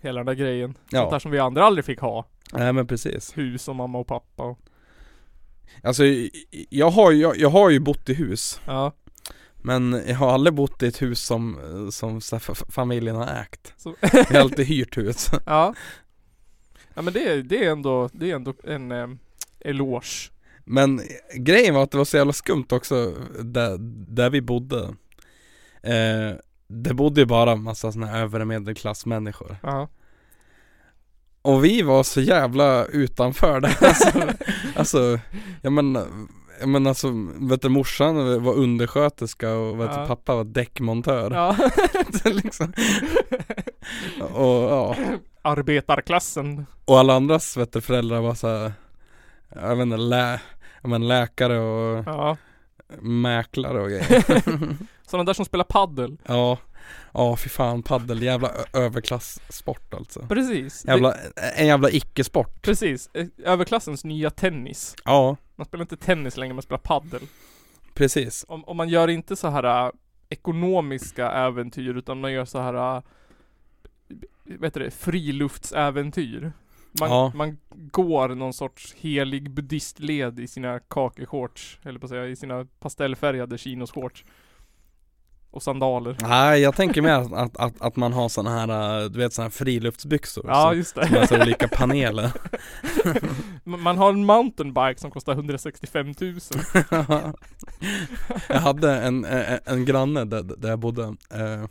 [SPEAKER 1] hela den där grejen.
[SPEAKER 2] Ja.
[SPEAKER 1] Sånt där som vi andra aldrig fick ha.
[SPEAKER 2] Nej men precis
[SPEAKER 1] Hus och mamma och pappa och,
[SPEAKER 2] Alltså i- i- jag har, ju- jag, jag har ju bott i hus
[SPEAKER 1] Ja.
[SPEAKER 2] Men jag har aldrig bott i ett hus som, eh, som så här, fa- fa- familjen har ägt
[SPEAKER 1] <laughs> Som-
[SPEAKER 2] Jag har alltid hyrt hus <laughs>
[SPEAKER 1] Ja. Ja men det, är- det är ändå, det är ändå en ehm, eloge.
[SPEAKER 2] Men grejen var att det var så jävla skumt också där, där vi bodde eh, Det bodde ju bara en massa sådana här övre medelklassmänniskor
[SPEAKER 1] Ja.
[SPEAKER 2] Och vi var så jävla utanför det <laughs> alltså, alltså jag menar jag menar alltså, vet du, morsan var undersköterska och vet du,
[SPEAKER 1] Ja.
[SPEAKER 2] pappa var däckmontör
[SPEAKER 1] Ja. <laughs>
[SPEAKER 2] Det är <laughs> liksom. Och ja
[SPEAKER 1] Arbetarklassen.
[SPEAKER 2] Och alla andras vet du, föräldrar var såhär Jag vet inte, lä, jag menar, läkare och
[SPEAKER 1] Ja.
[SPEAKER 2] mäklare och grejer
[SPEAKER 1] <laughs> Sådana där som spelar paddel.
[SPEAKER 2] Ja, ja fy fan paddel, jävla ö- överklasssport alltså
[SPEAKER 1] Precis.
[SPEAKER 2] jävla,
[SPEAKER 1] Det-
[SPEAKER 2] En jävla icke-sport
[SPEAKER 1] Precis. Eh, Överklassens nya tennis.
[SPEAKER 2] Ja,
[SPEAKER 1] Man spelar inte tennis längre, man spelar paddel.
[SPEAKER 2] precis
[SPEAKER 1] Om, om man gör inte så här äh, ekonomiska äventyr utan man gör så här äh, vet du det, friluftsäventyr. Man,
[SPEAKER 2] Ja.
[SPEAKER 1] man går någon sorts helig buddhistled i sina kakeshorts, eller på att säga, i sina pastellfärgade chinoshorts. Och sandaler.
[SPEAKER 2] Nej jag tänker mer att, att, att, att man har sådana här, äh, du vet sådana här friluftsbyxor
[SPEAKER 1] Ja,
[SPEAKER 2] som-
[SPEAKER 1] just det.
[SPEAKER 2] Som har så olika
[SPEAKER 1] <laughs>
[SPEAKER 2] paneler <laughs>
[SPEAKER 1] Man man har en mountainbike som kostar 165 000.
[SPEAKER 2] <laughs> Jag hade en, en, en granne där, där jag bodde eh,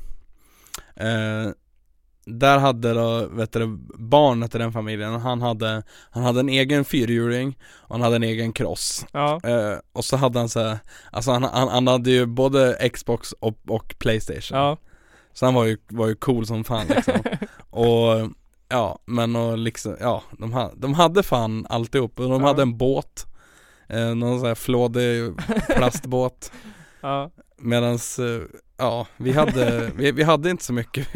[SPEAKER 2] eh, Där hade då, vet du, barnet i den familjen, han hade, han hade en egen fyrhjuling och han hade en egen cross
[SPEAKER 1] Ja.
[SPEAKER 2] eh, Och så hade han så här, alltså han, han, han hade ju både Xbox och, och Playstation
[SPEAKER 1] Ja.
[SPEAKER 2] Så han var ju, var ju cool som fan liksom Och ja, men och liksom, ja, de, ha, de hade fan alltihop och de
[SPEAKER 1] Ja.
[SPEAKER 2] hade en båt eh, Någon sån här flådig plastbåt
[SPEAKER 1] <laughs> Ja.
[SPEAKER 2] Medans, eh, ja, vi hade, vi, vi hade inte så mycket <laughs>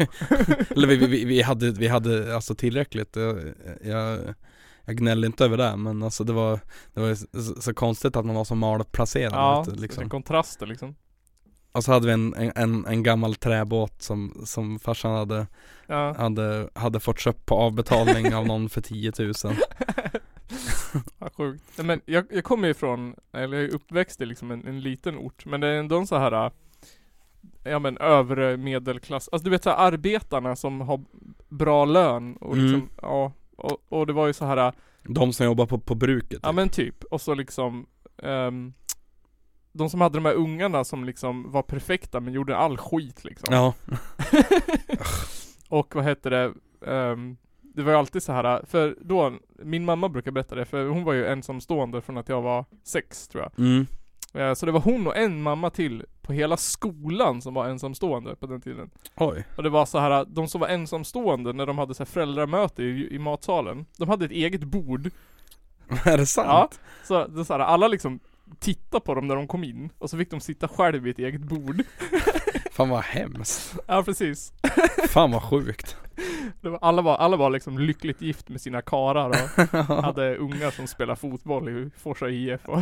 [SPEAKER 2] Eller vi, vi, vi, hade, vi hade alltså tillräckligt Jag, jag, jag gnällde inte över det men alltså det var, det var ju så, så konstigt att man var så malplacerad
[SPEAKER 1] Ja,
[SPEAKER 2] vet du,
[SPEAKER 1] liksom. kontraster liksom.
[SPEAKER 2] och så hade vi en, en- en, en gammal träbåt som, som farsan hade,
[SPEAKER 1] Ja. <laughs>
[SPEAKER 2] hade, hade fått köpt på avbetalning av någon för 10 000
[SPEAKER 1] Ja, sjukt. Nej, Men jag, jag kommer ju från, eller jag är uppväxt i liksom en, en liten ort, men det är ändå en så här äh, Ja men övre medelklass, alltså du vet så här, arbetarna som har bra lön och
[SPEAKER 2] Mm.
[SPEAKER 1] liksom, ja och, och det var ju så här äh,
[SPEAKER 2] <laughs> De som jobbar på, på bruket
[SPEAKER 1] Ja men typ, och så liksom ehm, De som hade de här ungarna som liksom var perfekta men gjorde all skit liksom
[SPEAKER 2] Ja
[SPEAKER 1] <laughs> Och vad hette det? Ehm, det var ju alltid så här äh, för då, min mamma brukar berätta det, för hon var ju ensamstående från att jag var sex tror jag.
[SPEAKER 2] Mm.
[SPEAKER 1] Eh, Så det var hon och en mamma till på hela skolan som var ensamstående på den tiden.
[SPEAKER 2] Oj.
[SPEAKER 1] Och det var så här äh, de som var ensamstående när de hade så här föräldramöte i, i matsalen, de hade ett eget bord.
[SPEAKER 2] <laughs> Är det sant?
[SPEAKER 1] Ja. Så det är så här, alla liksom titta på dem när de kom in och så fick de sitta själv vid ett eget bord. <laughs>
[SPEAKER 2] Fan vad <laughs> hemskt.
[SPEAKER 1] Ja precis.
[SPEAKER 2] Fan vad sjukt.
[SPEAKER 1] Det var, alla, var, alla var liksom lyckligt gift med sina karar
[SPEAKER 2] <laughs>
[SPEAKER 1] och hade ungar som spelade fotboll i Forsa IF och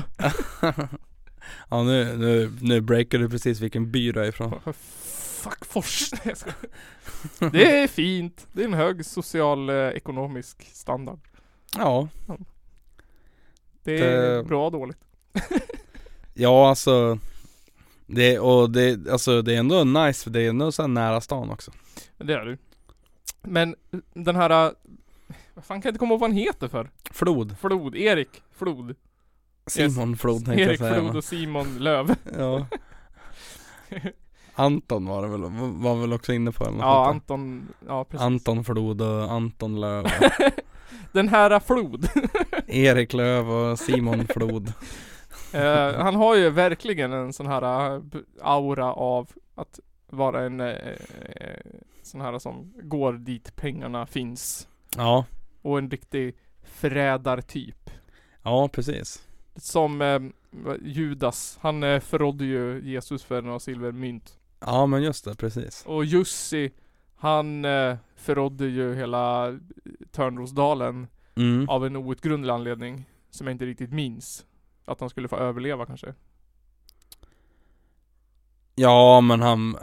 [SPEAKER 2] Ja nu, nu, nu breakar du precis vilken by du är ifrån.
[SPEAKER 1] Fuck Fors! <laughs> Nej, jag skojar. Det är fint. Det är en hög social eh, ekonomisk standard.
[SPEAKER 2] <laughs> Ja.
[SPEAKER 1] Det är
[SPEAKER 2] Det-
[SPEAKER 1] bra dåligt.
[SPEAKER 2] Ja alltså. Det, och det, alltså det är ändå nice för det är ändå så här nära stan också.
[SPEAKER 1] Men Det är du. Men den här... eh, Vad fan kan jag inte komma ihåg vad han heter för?
[SPEAKER 2] Flod.
[SPEAKER 1] Flod. Erik Flod.
[SPEAKER 2] Simon Flod tänkte jag
[SPEAKER 1] Erik
[SPEAKER 2] säga.
[SPEAKER 1] Flod och Simon
[SPEAKER 2] <laughs>
[SPEAKER 1] Löv.
[SPEAKER 2] Ja. Anton var det väl, var väl också inne på eller något
[SPEAKER 1] Ja,
[SPEAKER 2] sånt där.
[SPEAKER 1] Anton. Ja, precis.
[SPEAKER 2] Anton Flod och Anton Löv
[SPEAKER 1] <laughs> Den här eh, Flod. <laughs>
[SPEAKER 2] Erik Löv och Simon Flod
[SPEAKER 1] Eh, han har ju verkligen en sån här eh, b- aura av att vara en eh, eh, sån här som går dit pengarna finns.
[SPEAKER 2] Ja,
[SPEAKER 1] Och en riktig förrädartyp.
[SPEAKER 2] ja precis
[SPEAKER 1] Som eh, Judas, han eh, förrådde ju Jesus för några silvermynt.
[SPEAKER 2] Ja men just det, precis
[SPEAKER 1] Och Jussi, han eh, förrådde ju hela Törnrosdalen
[SPEAKER 2] Mm.
[SPEAKER 1] av en outgrundlig anledning. Som jag inte riktigt minns. Att han skulle få överleva kanske.
[SPEAKER 2] Ja men han,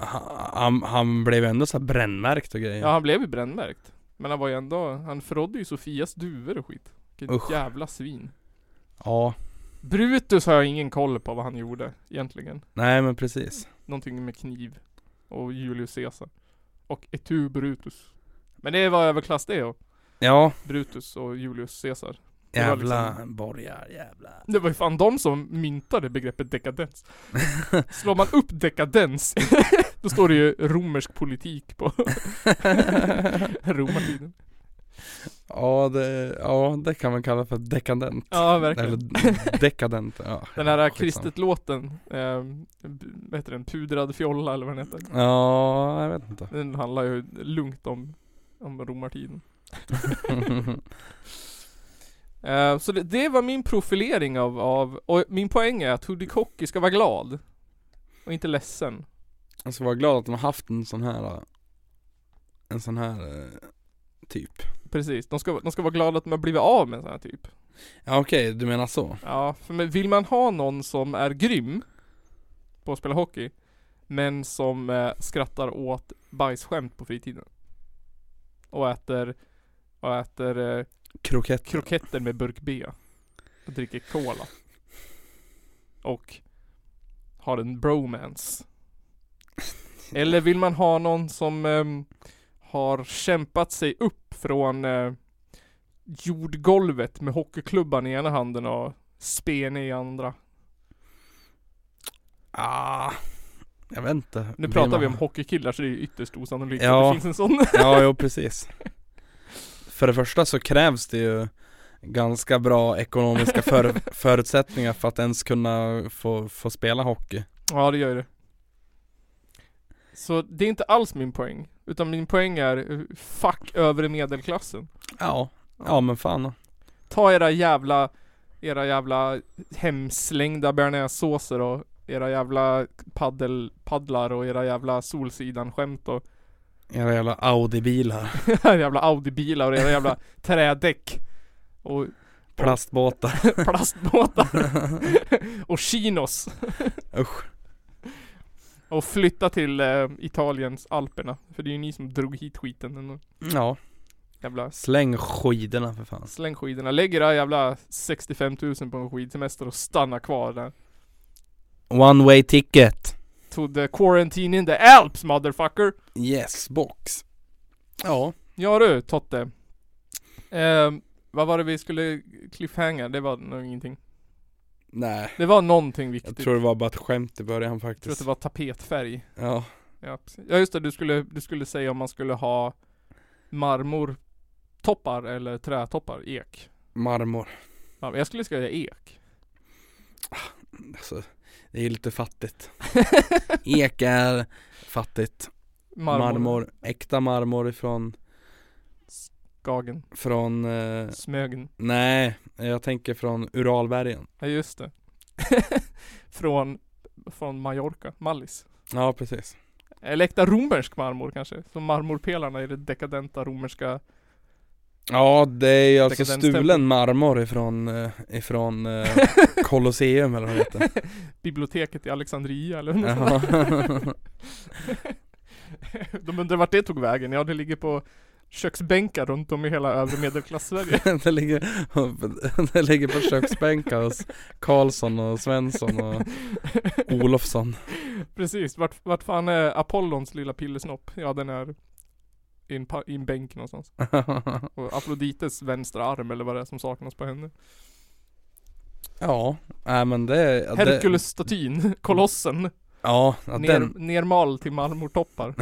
[SPEAKER 2] han, han blev ändå så här brännmärkt och grejer
[SPEAKER 1] Ja han blev ju brännmärkt. Men han var ju ändå, han förrådde ju Sofias duvor och skit. Vilket
[SPEAKER 2] Usch.
[SPEAKER 1] jävla svin.
[SPEAKER 2] Ja,
[SPEAKER 1] Brutus har jag ingen koll på vad han gjorde egentligen.
[SPEAKER 2] nej men precis
[SPEAKER 1] Någonting med kniv. Och Julius Caesar. Och Etu Brutus. Men det var överklass det och
[SPEAKER 2] Ja,
[SPEAKER 1] Brutus och Julius Caesar. Det var
[SPEAKER 2] jävla
[SPEAKER 1] liksom-
[SPEAKER 2] borgar, jävla <laughs>
[SPEAKER 1] Det var ju fan de som myntade begreppet dekadens. Slår man upp dekadens, <laughs> då står det ju romersk politik på <laughs> romartiden.
[SPEAKER 2] Ja det, ja det kan man kalla för dekadent
[SPEAKER 1] Ja, verkligen.
[SPEAKER 2] Eller dekadent, ja
[SPEAKER 1] Den här
[SPEAKER 2] skitsamma.
[SPEAKER 1] kristet-låten, eh, b- vad heter den? Pudrad fjolla eller vad den heter.
[SPEAKER 2] Ja, jag vet inte
[SPEAKER 1] Den handlar ju lugnt om, om romartiden. Eh, så det, det var min profilering av, av, och min poäng är att Hoodie Cocky ska vara glad. Och inte ledsen.
[SPEAKER 2] Jag ska vara glad att de har haft en sån här En sån här eh, typ
[SPEAKER 1] Precis, de ska, de ska vara glada att de har blivit av med en sån här typ.
[SPEAKER 2] Ja okej, du menar så?
[SPEAKER 1] Ja, för men vill man ha någon som är grym på att spela hockey, men som eh, skrattar åt bajsskämt på fritiden. Och äter, och äter eh,
[SPEAKER 2] Krokett
[SPEAKER 1] kroketter med burk B. Och dricker cola. Och har en bromance. Eller vill man ha någon som ehm, har kämpat sig upp från eh, jordgolvet med hockeyklubban i ena handen och spen i andra.
[SPEAKER 2] Ah, jag vet inte
[SPEAKER 1] Nu
[SPEAKER 2] Blir
[SPEAKER 1] pratar
[SPEAKER 2] man-
[SPEAKER 1] vi om hockeykillar så det är ju ytterst osannolikt
[SPEAKER 2] Ja.
[SPEAKER 1] att det finns en sån. <laughs>
[SPEAKER 2] Ja, jo precis För det första så krävs det ju Ganska bra
[SPEAKER 1] <laughs>
[SPEAKER 2] ekonomiska för, förutsättningar för att ens kunna få, få spela hockey
[SPEAKER 1] Ja det gör ju det. Så det är inte alls min poäng. Utan min poäng är eh, fuck övre medelklassen.
[SPEAKER 2] Ja, ja men fan då.
[SPEAKER 1] Ta era jävla, era jävla hemslängda bearnaisesåser och era jävla paddel, paddlar och era jävla solsidan-skämt och <laughs>
[SPEAKER 2] Era jävla Audi-bilar,
[SPEAKER 1] era jävla Audi-bilar och era jävla trädäck. Och
[SPEAKER 2] plastbåtar,
[SPEAKER 1] plastbåtar. och chinos.
[SPEAKER 2] usch
[SPEAKER 1] Och flytta till eh, Italiens Alperna. För det är ju ni som drog hit skiten. ändå.
[SPEAKER 2] Ja,
[SPEAKER 1] Jävla
[SPEAKER 2] släng skidorna för fan
[SPEAKER 1] Släng skidorna, lägg era jävla 65 000 på en skidsemester och stanna kvar där.
[SPEAKER 2] One way ticket
[SPEAKER 1] To the quarantine in the Alps motherfucker!
[SPEAKER 2] Yes box Ja
[SPEAKER 1] Ja du Totte. Ehm, vad var det vi skulle cliffhanga? Det var nog ingenting.
[SPEAKER 2] Nej
[SPEAKER 1] Det var någonting
[SPEAKER 2] Jag typ-
[SPEAKER 1] viktigt.
[SPEAKER 2] tror det var bara ett skämt i början
[SPEAKER 1] Jag tror att
[SPEAKER 2] faktiskt
[SPEAKER 1] det var tapetfärg.
[SPEAKER 2] Ja,
[SPEAKER 1] Ja, precis. ja just det, du skulle, du skulle säga om man skulle ha marmortoppar eller trätoppar, ek.
[SPEAKER 2] marmor
[SPEAKER 1] Ja, Jag skulle säga
[SPEAKER 2] <laughs>
[SPEAKER 1] ek.
[SPEAKER 2] alltså, Det är ju lite fattigt Ek är fattigt Marmor, äkta marmor ifrån,
[SPEAKER 1] Skagen.
[SPEAKER 2] från eh,
[SPEAKER 1] Smögen.
[SPEAKER 2] Nej, jag tänker från Uralbergen
[SPEAKER 1] Ja just det. <laughs> från, från Mallorca, Mallis.
[SPEAKER 2] Ja, precis.
[SPEAKER 1] Eller äkta romersk marmor kanske. Som marmorpelarna i det dekadenta romerska
[SPEAKER 2] Ja, det är ju alltså
[SPEAKER 1] Dekadens tempel.
[SPEAKER 2] stulen marmor ifrån, eh, ifrån eh, Colosseum eller vad det <laughs> heter.
[SPEAKER 1] <laughs> biblioteket i Alexandria eller
[SPEAKER 2] Jaha.
[SPEAKER 1] något sånt där. <laughs> De undrar vart det tog vägen? Ja, det ligger på köksbänkar runt om i hela övre medelklass-Sverige.
[SPEAKER 2] det, ligger, <laughs> det ligger på köksbänkar hos Karlsson och Svensson
[SPEAKER 1] <laughs>
[SPEAKER 2] och Olofsson. <laughs>
[SPEAKER 1] Precis, vart, vart fan är Apollons lilla pillesnopp? Ja, den är i en, pa- i en bänk någonstans. Och Afrodites vänstra arm eller vad det är som saknas på henne.
[SPEAKER 2] Ja, nej men det... det-
[SPEAKER 1] Herkulesstatyn, <laughs> kolossen.
[SPEAKER 2] Ja, ja,
[SPEAKER 1] ner,
[SPEAKER 2] den. <laughs>
[SPEAKER 1] Nermal till marmortoppar.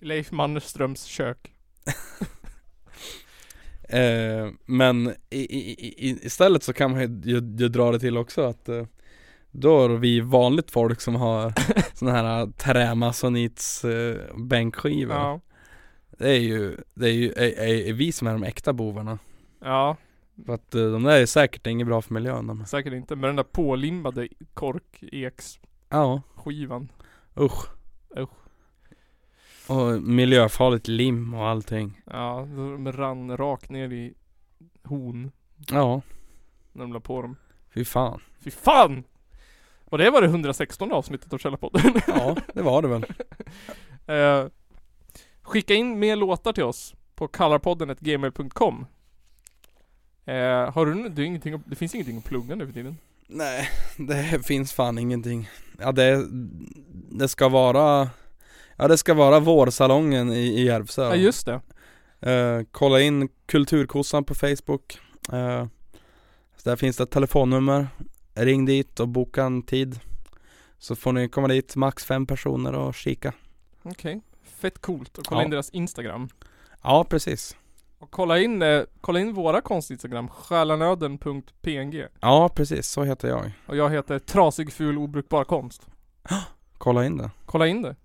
[SPEAKER 1] Leif Mannerströms kök.
[SPEAKER 2] Eh, men i, i, i, i- istället så kan man ju, ju, ju dra det till också att eh, då är vi vanligt folk
[SPEAKER 1] <laughs>
[SPEAKER 2] som har sådana här eh, trämasonits eh, bänkskivor.
[SPEAKER 1] Ja.
[SPEAKER 2] Det är ju, det är ju är, är, är vi som är de äkta bovarna.
[SPEAKER 1] Ja,
[SPEAKER 2] För att eh, de där är säkert inget bra för miljön. De.
[SPEAKER 1] säkert inte. Men den där pålimmade kork-eks-skivan.
[SPEAKER 2] Ja, usch.
[SPEAKER 1] Usch.
[SPEAKER 2] Och miljöfarligt lim och allting.
[SPEAKER 1] Ja, de rann rakt ner i hon
[SPEAKER 2] Ja,
[SPEAKER 1] när de la på dem.
[SPEAKER 2] fy fan.
[SPEAKER 1] Fy fan! Och det var det 116 avsnittet av Källarpodden.
[SPEAKER 2] Ja, det var det väl.
[SPEAKER 1] <laughs> Eh, skicka in mer låtar till oss på kallarpodden.gmail.com eh, Har du, du ingenting, att- det finns ingenting att plugga nu för tiden?
[SPEAKER 2] Nej, <laughs> det finns fan ingenting. Ja det, det ska vara Ja det ska vara vårsalongen i, i Järvsö.
[SPEAKER 1] Ja just det.
[SPEAKER 2] Eh, kolla in Kulturkossan på Facebook. Eh, så där finns det ett telefonnummer. Ring dit och boka en tid. Så får ni komma dit, max fem personer och kika.
[SPEAKER 1] Okej. Fett coolt. Och kolla
[SPEAKER 2] Ja.
[SPEAKER 1] in deras Instagram.
[SPEAKER 2] Ja precis.
[SPEAKER 1] Och kolla in, eh, kolla in våra konstinstagram, själanöden.png
[SPEAKER 2] Ja precis, så heter jag.
[SPEAKER 1] Och jag heter Trasig, ful, obrukbar konst.
[SPEAKER 2] Kolla in det.
[SPEAKER 1] Kolla in det.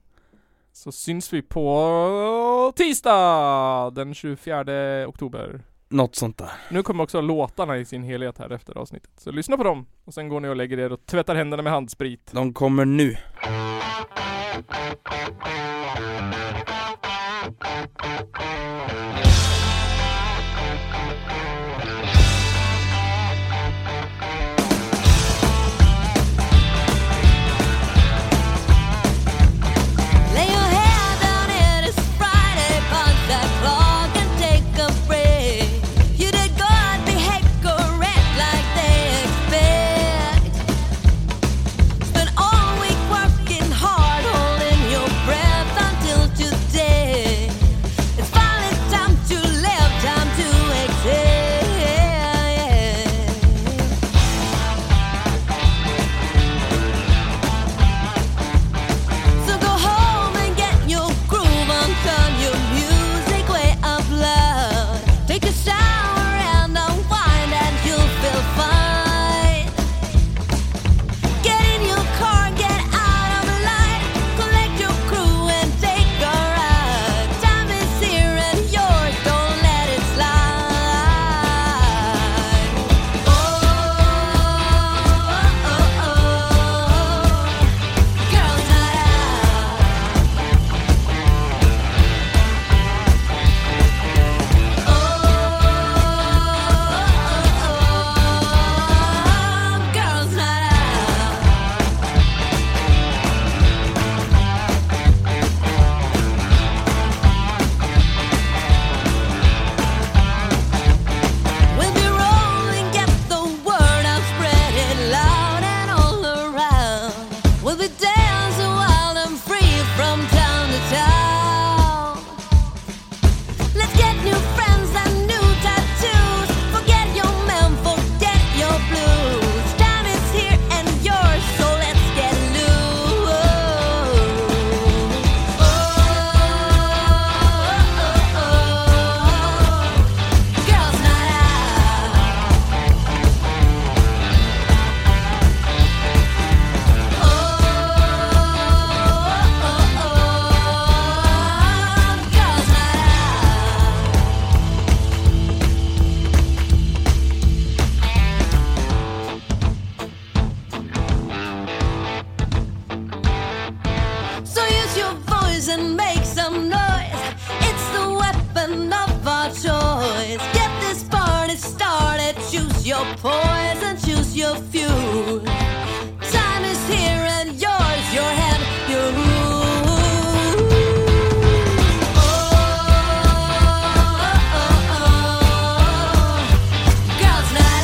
[SPEAKER 1] Så syns vi på tisdag den 24 oktober.
[SPEAKER 2] Något sånt där.
[SPEAKER 1] Nu kommer också låtarna i sin helhet här efter avsnittet. Så lyssna på dem. Och sen går ni och lägger er och tvättar händerna med handsprit.
[SPEAKER 2] De kommer nu.
[SPEAKER 3] Lay your hair down, it is Friday, punch that clock and take a break. You did good, behave correct like they expect. Spend all week working hard, holding your breath Oh, oh. Oh, oh, and make some noise. It's the weapon of our choice. Get this party started. Choose your poison, choose your fuel. Time is here and yours, your head, your rule. Oh, oh, Girls night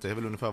[SPEAKER 12] Det är väl ungefär